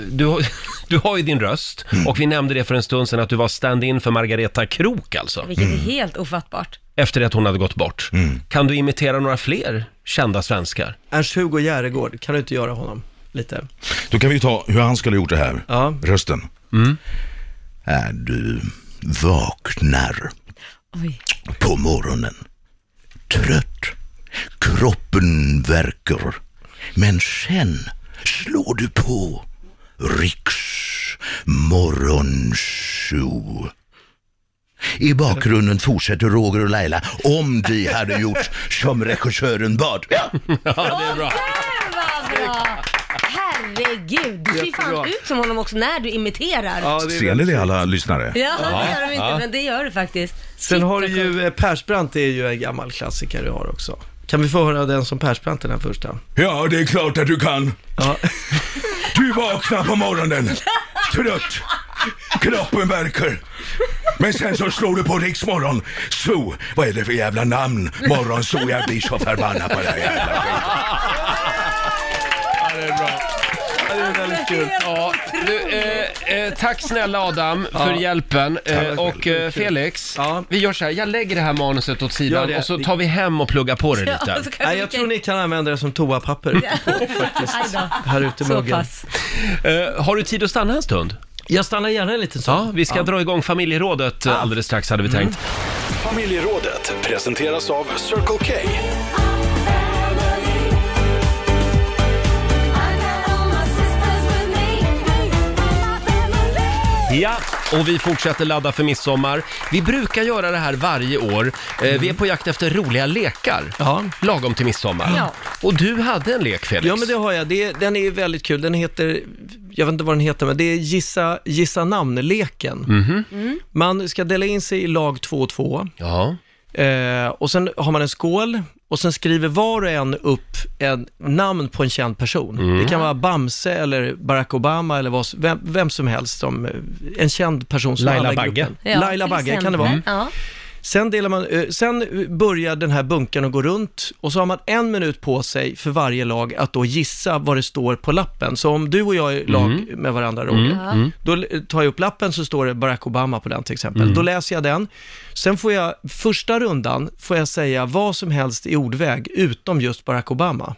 Speaker 1: du, har- du har ju din röst
Speaker 10: Mm.
Speaker 1: och vi nämnde det för en stund sedan att du var stand-in för Margareta Krook alltså,
Speaker 2: Vilket
Speaker 10: Mm.
Speaker 2: är helt ofattbart.
Speaker 1: efter att hon hade gått bort. Kan du imitera några fler kända svenskar?
Speaker 10: Ernst-Hugo Järegård, kan du inte göra honom lite?
Speaker 4: Då kan vi ta hur han skulle ha gjort det här.
Speaker 10: Ja. Mm.
Speaker 4: Rösten. Är du vaknar
Speaker 2: Oj.
Speaker 4: på morgonen. Trött. Kroppen verkar. Men sen slår du på Riks morgonshow. I bakgrunden fortsätter Roger och Laila om de hade gjort som regissören bad. Ja.
Speaker 1: Ja, det är bra.
Speaker 2: Där var bra! Herregud, du ser ju fan
Speaker 10: Jättebra.
Speaker 2: ut som honom också när du imiterar. Ja,
Speaker 4: Ser ni det alla lyssnare?
Speaker 2: det gör de inte, men det gör du faktiskt.
Speaker 10: Sen har du
Speaker 2: Titta,
Speaker 10: ju, eh, Persbrandt är ju en gammal klassiker du har också. Kan vi få höra den som Persbrandt, den här första?
Speaker 4: Ja, det är klart att du kan. Du vaknar på morgonen, trött. Kroppen verkar. Men sen så slår du på riksmorgon. So, vad är det för jävla namn? Morgon, so, jag blir så förbannad på dig.
Speaker 1: det är bra. det är väldigt kul. Ja, du, eh, eh, tack snälla Adam för
Speaker 10: Ja.
Speaker 1: hjälpen. Eh,
Speaker 10: Tack.
Speaker 1: och eh, Felix, vi gör så här. Jag lägger det här manuset åt
Speaker 10: Gör
Speaker 1: sidan
Speaker 10: det.
Speaker 1: och så tar vi hem och pluggar på det
Speaker 10: Ja,
Speaker 1: lite.
Speaker 10: så kan Nej, vi- jag tror ni kan använda det som toapapper. Här ute i
Speaker 1: Så
Speaker 10: muggen.
Speaker 1: pass. Eh, har du tid att stanna en stund?
Speaker 10: Jag stannar gärna en liten stund.
Speaker 1: Ja, vi ska dra igång familjerådet eh, alldeles strax hade vi
Speaker 10: Mm.
Speaker 1: tänkt.
Speaker 11: Familjerådet presenteras av Circle K.
Speaker 1: Ja, och vi fortsätter ladda för midsommar. Vi brukar göra det här varje år. Eh, vi är på jakt efter roliga lekar, lagom till midsommar.
Speaker 10: Ja.
Speaker 1: Och du hade en lek Felix.
Speaker 10: Ja, men det har jag. Det, är- den är ju väldigt kul. Den heter, jag vet inte vad den heter, men det är Gissa, gissa namn-leken.
Speaker 1: Mhm.
Speaker 10: Man ska dela in sig i lag två och två. Eh, och sen har man en skål och sen skriver var och en upp en namn på en känd person.
Speaker 1: Mm.
Speaker 10: Det kan vara Bamse eller Barack Obama eller vad, s- vem, vem som helst. Som, eh, en känd person som
Speaker 1: Laila
Speaker 10: alla i
Speaker 1: Bagge.
Speaker 10: gruppen.
Speaker 1: Ja,
Speaker 10: Laila
Speaker 1: till
Speaker 10: Bagge kan det
Speaker 1: exempel.
Speaker 10: vara.
Speaker 1: Mm.
Speaker 2: Ja.
Speaker 10: Sen, delar man, eh, sen börjar den här bunken att gå runt och så har man en minut på sig för varje lag att då gissa vad det står på lappen. Så om du och jag är lag
Speaker 1: Mm.
Speaker 10: med varandra, Roger,
Speaker 1: Mm, mm.
Speaker 10: då eh, tar jag upp lappen så står det Barack Obama på den till exempel.
Speaker 1: Mm.
Speaker 10: Då läser jag den. Sen får jag, första rundan, får jag säga vad som helst i ordväg utom just Barack Obama.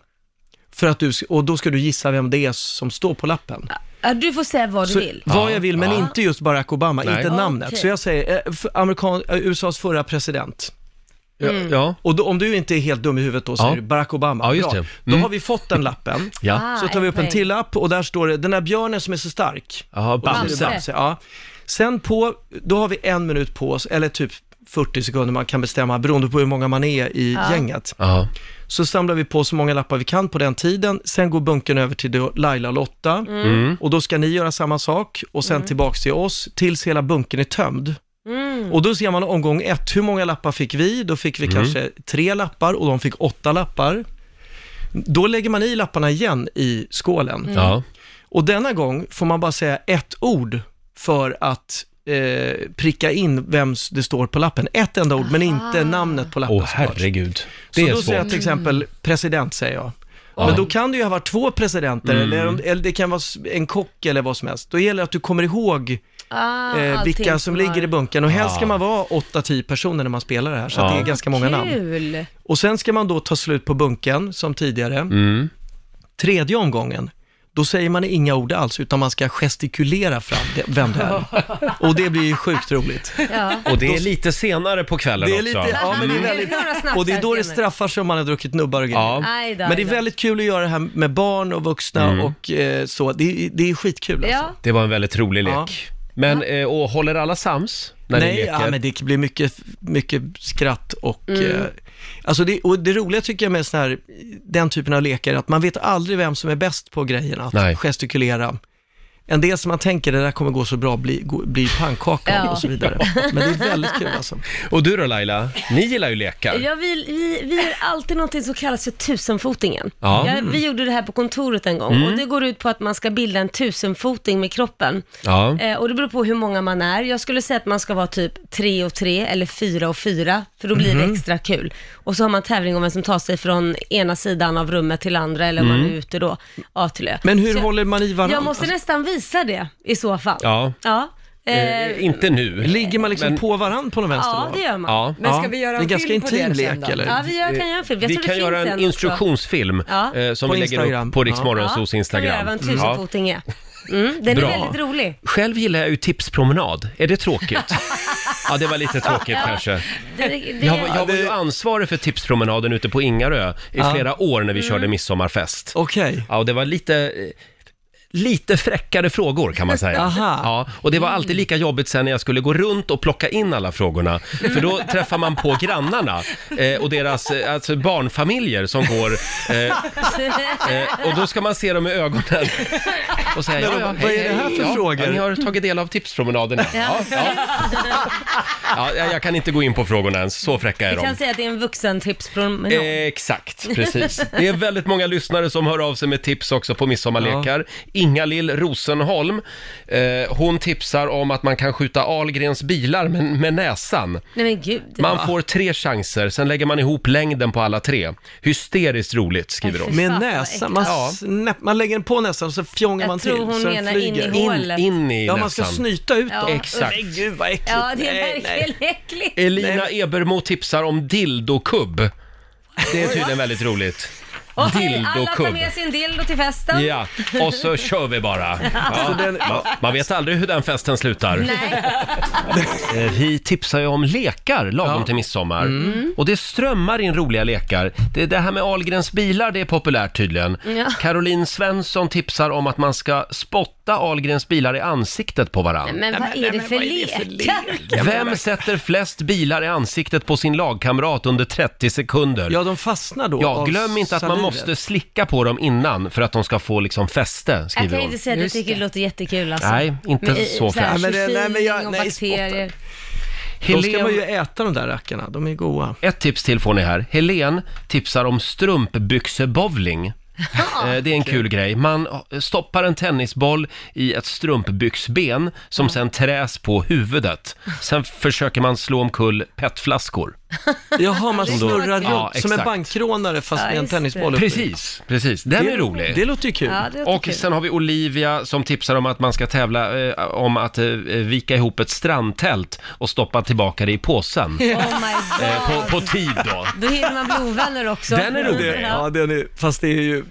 Speaker 10: För att du, s- och då ska du gissa vem det är som står på lappen.
Speaker 2: Ja, du får säga vad du
Speaker 10: Så,
Speaker 2: vill.
Speaker 10: Vad jag vill, men
Speaker 2: Ja.
Speaker 10: inte just Barack Obama,
Speaker 2: Nej.
Speaker 10: inte namnet.
Speaker 2: Okej.
Speaker 10: Så jag säger, eh, f- amerikan, eh, USAs förra president.
Speaker 1: Ja, Mm. ja.
Speaker 10: Och då, om du inte är helt dum i huvudet då, säger
Speaker 1: Ja.
Speaker 10: du Barack Obama.
Speaker 1: Ja, just
Speaker 10: Bra.
Speaker 1: det.
Speaker 10: Då
Speaker 1: Mm.
Speaker 10: har vi fått den lappen.
Speaker 1: Ja.
Speaker 10: Så
Speaker 1: Ah,
Speaker 10: tar vi
Speaker 1: en
Speaker 10: upp en
Speaker 1: poäng.
Speaker 10: till lapp och där står det, den där björnen som är så stark.
Speaker 1: Jaha,
Speaker 10: Och då är det
Speaker 1: Bamse.
Speaker 10: ja. Sen på, då har vi en minut på oss, eller typ 40 sekunder man kan bestämma, beroende på hur många man är i
Speaker 1: Ja.
Speaker 10: gänget.
Speaker 1: Ja.
Speaker 10: Så samlar vi på så många lappar vi kan på den tiden, sen går bunken över till då Laila och Lotta,
Speaker 1: Mm.
Speaker 10: och då ska ni göra samma sak, och sen tillbaks till oss, tills hela bunken är tömd.
Speaker 2: Mm.
Speaker 10: Och då ser man omgång ett, hur många lappar fick vi? Då fick vi
Speaker 1: Mm.
Speaker 10: kanske tre lappar och de fick åtta lappar. Då lägger man i lapparna igen i skålen.
Speaker 1: Mm. Ja.
Speaker 10: Och denna gång får man bara säga ett ord för att eh, pricka in vem s- det står på lappen. Ett enda ord, men inte namnet på lappen.
Speaker 1: Åh
Speaker 10: såklart.
Speaker 1: herregud.
Speaker 10: Så
Speaker 1: Det är
Speaker 10: då
Speaker 1: svårt.
Speaker 10: säger jag till exempel president, säger jag.
Speaker 1: Ja.
Speaker 10: Men då kan det ju ha varit två presidenter,
Speaker 1: Mm.
Speaker 10: eller, om- eller det kan vara s- en kock eller vad som helst. Då gäller det att du kommer ihåg
Speaker 2: Ah,
Speaker 10: eh,
Speaker 2: allting
Speaker 10: vilka som ligger i bunken. Och helst
Speaker 1: Ja.
Speaker 10: ska man vara 8-10 personer när man spelar det här, så
Speaker 1: Ah. Ja.
Speaker 10: att det är ganska många namn.
Speaker 2: Kul!
Speaker 10: Och sen ska man då ta slut på bunken, som tidigare.
Speaker 1: Mm.
Speaker 10: Tredje omgången, då säger man inga ord alls, utan man ska gestikulera fram det, vem det är. Och det blir ju sjukt roligt.
Speaker 2: Ja.
Speaker 1: Och det är lite senare på kvällen
Speaker 10: Det är
Speaker 1: också.
Speaker 10: lite, ja, men det är
Speaker 1: Mm.
Speaker 10: väldigt,
Speaker 2: Några snapsar
Speaker 10: och det är då det
Speaker 2: senare.
Speaker 10: straffar sig om man har druckit nubbar och grejer.
Speaker 2: Aj då,
Speaker 10: Men det
Speaker 2: aj
Speaker 10: är
Speaker 2: då.
Speaker 10: väldigt kul att göra det här med barn och vuxna
Speaker 1: Mm.
Speaker 10: och eh, så. Det, är- det är skitkul alltså.
Speaker 2: Ja.
Speaker 1: Det var en väldigt rolig lek. Men, eh, och håller alla sams när ni
Speaker 10: Nej,
Speaker 1: leker?
Speaker 10: ja, men det blir mycket, mycket skratt och...
Speaker 1: Mm.
Speaker 10: Eh, alltså det, och det roliga tycker jag med sån här, den typen av lekar är att man vet aldrig vem som är bäst på grejerna, att
Speaker 1: Nej.
Speaker 10: gestikulera. En del som man tänker, det där kommer gå så bra, blir bli blir pannkaka
Speaker 2: Ja.
Speaker 10: och så vidare. Men det är väldigt kul alltså.
Speaker 1: Och du då Laila? Ni gillar ju lekar.
Speaker 2: Ja, vi, vi, vi gör alltid något som kallas för tusenfotingen.
Speaker 1: Ja.
Speaker 2: vi gjorde det här på kontoret en gång
Speaker 1: Mm.
Speaker 2: och det går ut på att man ska bilda en tusenfoting med kroppen.
Speaker 1: Ja.
Speaker 2: Eh, och det beror på hur många man är. Jag skulle säga att man ska vara typ tre och tre eller fyra och fyra, för då blir det
Speaker 1: Mhm.
Speaker 2: extra kul. Och så har man tävling om vem som tar sig från ena sidan av rummet till andra eller om man
Speaker 1: Mm.
Speaker 2: är ute då, A till Ö.
Speaker 10: Men hur
Speaker 2: Så jag-
Speaker 10: håller man i Alltså, varandra?
Speaker 2: Jag måste nästan visa det i så fall.
Speaker 1: Alltså- Ja.
Speaker 2: Ja. Eh,
Speaker 1: Eh, inte nu.
Speaker 10: Ligger man liksom
Speaker 1: Men-
Speaker 10: på varandra på någon vänster
Speaker 2: Ja,
Speaker 10: då?
Speaker 2: det gör man. Men ska vi göra
Speaker 10: det
Speaker 2: en
Speaker 10: är ganska
Speaker 2: film på det
Speaker 10: intim
Speaker 2: sen
Speaker 10: lek
Speaker 2: då?
Speaker 10: eller?
Speaker 2: Ja, vi gör- kan göra en film. Jag
Speaker 1: vi
Speaker 2: tror det
Speaker 1: kan
Speaker 2: finns
Speaker 1: göra
Speaker 2: en
Speaker 1: en
Speaker 2: också.
Speaker 1: instruktionsfilm
Speaker 2: Ja.
Speaker 1: eh, som
Speaker 2: På
Speaker 1: vi lägger
Speaker 2: Instagram.
Speaker 1: upp på
Speaker 2: Ja.
Speaker 1: Riksmorgonsos
Speaker 2: Kan
Speaker 1: Instagram.
Speaker 2: göra vad en
Speaker 1: Mm. Ja.
Speaker 2: tusenfoting är. Mm, den
Speaker 1: Bra.
Speaker 2: är väldigt rolig.
Speaker 1: Själv gillar jag ju tipspromenad. Är det tråkigt? ja, det var lite tråkigt
Speaker 2: Ja.
Speaker 1: kanske.
Speaker 2: Det, det,
Speaker 1: Jag, var- jag var ju ansvarig för tipspromenaden ute på Ingarö i
Speaker 10: Ja.
Speaker 1: flera år när vi
Speaker 2: Mm.
Speaker 1: körde midsommarfest.
Speaker 10: Okej.
Speaker 1: Ja, och det var lite... eh, Lite fräckare frågor kan man säga.
Speaker 10: Aha.
Speaker 1: Ja, och det var alltid lika jobbigt sen när jag skulle gå runt och plocka in alla frågorna. För då träffar man på grannarna eh, och deras eh, alltså barnfamiljer som går eh, Eh, och då ska man se dem i ögonen. och säga ja,
Speaker 10: Men
Speaker 1: ja, hej,
Speaker 10: vad- vad är
Speaker 1: hej,
Speaker 10: det här för
Speaker 1: ja,
Speaker 10: frågor?
Speaker 1: ja, Ni har tagit del av tipspromenaden. Ja, ja, ja, jag- jag kan inte gå in på frågorna ens, så fräcka är
Speaker 2: Vi
Speaker 1: de.
Speaker 2: kan säga att det är en vuxentipspromenad.
Speaker 1: Eh, Exakt, precis. Det är väldigt många lyssnare som hör av sig med tips också på midsommarlekar. Inga-Lill Rosenholm, eh, hon tipsar om att man kan skjuta Ahlgrens bilar med, med näsan.
Speaker 2: Nej men gud.
Speaker 1: Man får tre chanser, sen lägger man ihop längden på alla tre. Hysteriskt roligt, skriver de.
Speaker 10: Med näsan, man, snäpp, man lägger den på näsan och så fjongar
Speaker 2: Jag
Speaker 10: man till.
Speaker 2: tror hon
Speaker 10: så den
Speaker 2: menar
Speaker 10: flyger.
Speaker 2: in i hålet.
Speaker 1: In- in i
Speaker 10: Ja, man ska
Speaker 1: näsan.
Speaker 10: snyta ut
Speaker 2: Ja.
Speaker 10: dem.
Speaker 1: Exakt.
Speaker 10: Men gud vad äckligt.
Speaker 2: Ja, det är
Speaker 10: Nej, nej.
Speaker 2: verkligen äckligt.
Speaker 1: Elina Ebermo tipsar om dildokubb. Det är tydligen väldigt roligt.
Speaker 2: Okej, alla tar
Speaker 1: Dildokubb.
Speaker 2: med sin dildo till festen.
Speaker 1: Ja, och så kör vi bara. Ja.
Speaker 2: Alltså den-
Speaker 1: Man, man vet aldrig hur den festen slutar. Eh, Vi tipsar ju om lekar lagom till midsommar. Och det strömmar in roliga lekar. Det, det här med Ahlgrens bilar, det är populärt tydligen.
Speaker 2: Ja.
Speaker 1: Caroline Svensson tipsar om att man ska spotta Ahlgrens bilar i ansiktet på varandra.
Speaker 2: Men vad är det för lekar?
Speaker 1: Vem sätter flest bilar i ansiktet på sin lagkamrat under 30 sekunder? Ja,
Speaker 10: de fastnar då
Speaker 1: Ja,
Speaker 10: av
Speaker 1: glöm inte att man
Speaker 10: saliven.
Speaker 1: måste slicka på dem innan för att de ska få liksom fäste,
Speaker 2: Jag
Speaker 1: skriver
Speaker 2: kan
Speaker 1: hon.
Speaker 2: inte säga att jag tycker det låter jättekul alltså.
Speaker 1: Nej, inte
Speaker 2: Med i-
Speaker 1: så
Speaker 2: så här
Speaker 1: fräscht. Nej, men det-
Speaker 10: nej, men jag-
Speaker 2: förkylning och
Speaker 10: nej,
Speaker 2: bakterier.
Speaker 10: Då ska
Speaker 1: Helen-
Speaker 10: man ju äta de där rackarna, de är goa.
Speaker 1: Ett tips till får ni här. Helen tipsar om strumpbyxebowling. Eh, Det är en kul grej. Man stoppar en tennisboll i ett strumpbyxben som sen träs på huvudet. Sen försöker man slå omkull petflaskor.
Speaker 10: Jaha, man
Speaker 1: Som då-
Speaker 10: snurrar runt
Speaker 1: Ja,
Speaker 10: som en
Speaker 1: exakt.
Speaker 10: bankrånare fast
Speaker 1: Ja,
Speaker 10: med en
Speaker 1: just det.
Speaker 10: tennisboll uppe i.
Speaker 1: Precis, precis. Den
Speaker 10: Det-
Speaker 1: är rolig.
Speaker 10: det låter ju kul. Ja, det låter
Speaker 1: och
Speaker 10: kul.
Speaker 1: sen har vi Olivia som tipsar om att man ska tävla eh, om att eh, vika ihop ett strandtält och stoppa tillbaka det i påsen.
Speaker 2: Oh my god.
Speaker 1: Eh, på, på tid då.
Speaker 2: Då hinner man bli ovänner också.
Speaker 10: Ja, den är, fast det är ju,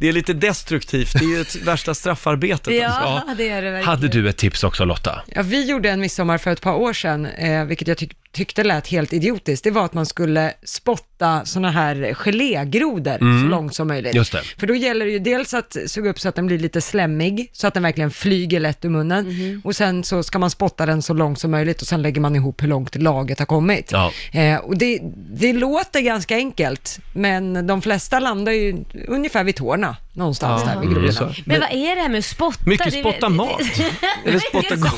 Speaker 10: det är lite destruktivt. Det är ju ett värsta straffarbetet.
Speaker 3: Ja,
Speaker 10: alltså.
Speaker 2: det är det verkligen.
Speaker 1: Hade du ett tips också Lotta?
Speaker 3: Ja, vi gjorde en midsommar för ett par år sedan, eh, vilket jag tyck- tyckte lät helt idiotiskt. Det var att man skulle spotta sådana här gelégrodor
Speaker 6: Mm.
Speaker 3: så långt som möjligt.
Speaker 6: Just det.
Speaker 3: För då gäller det ju dels att suga upp så att den blir lite slemmig, så att den verkligen flyger lätt ur munnen. Och sen så ska man spotta den så långt som möjligt och sen lägger man ihop hur långt laget har kommit.
Speaker 1: Ja.
Speaker 3: Eh, och det, det låter ganska enkelt, men de flesta landar ju ungefär vid tårna, någonstans
Speaker 10: Ja.
Speaker 3: där vid
Speaker 10: Mm.
Speaker 3: grodorna.
Speaker 10: Så.
Speaker 2: Men vad är det här med att spotta?
Speaker 10: Mycket
Speaker 2: Det är-
Speaker 10: spotta mat.
Speaker 1: Eller spotta
Speaker 2: Mycket
Speaker 1: go-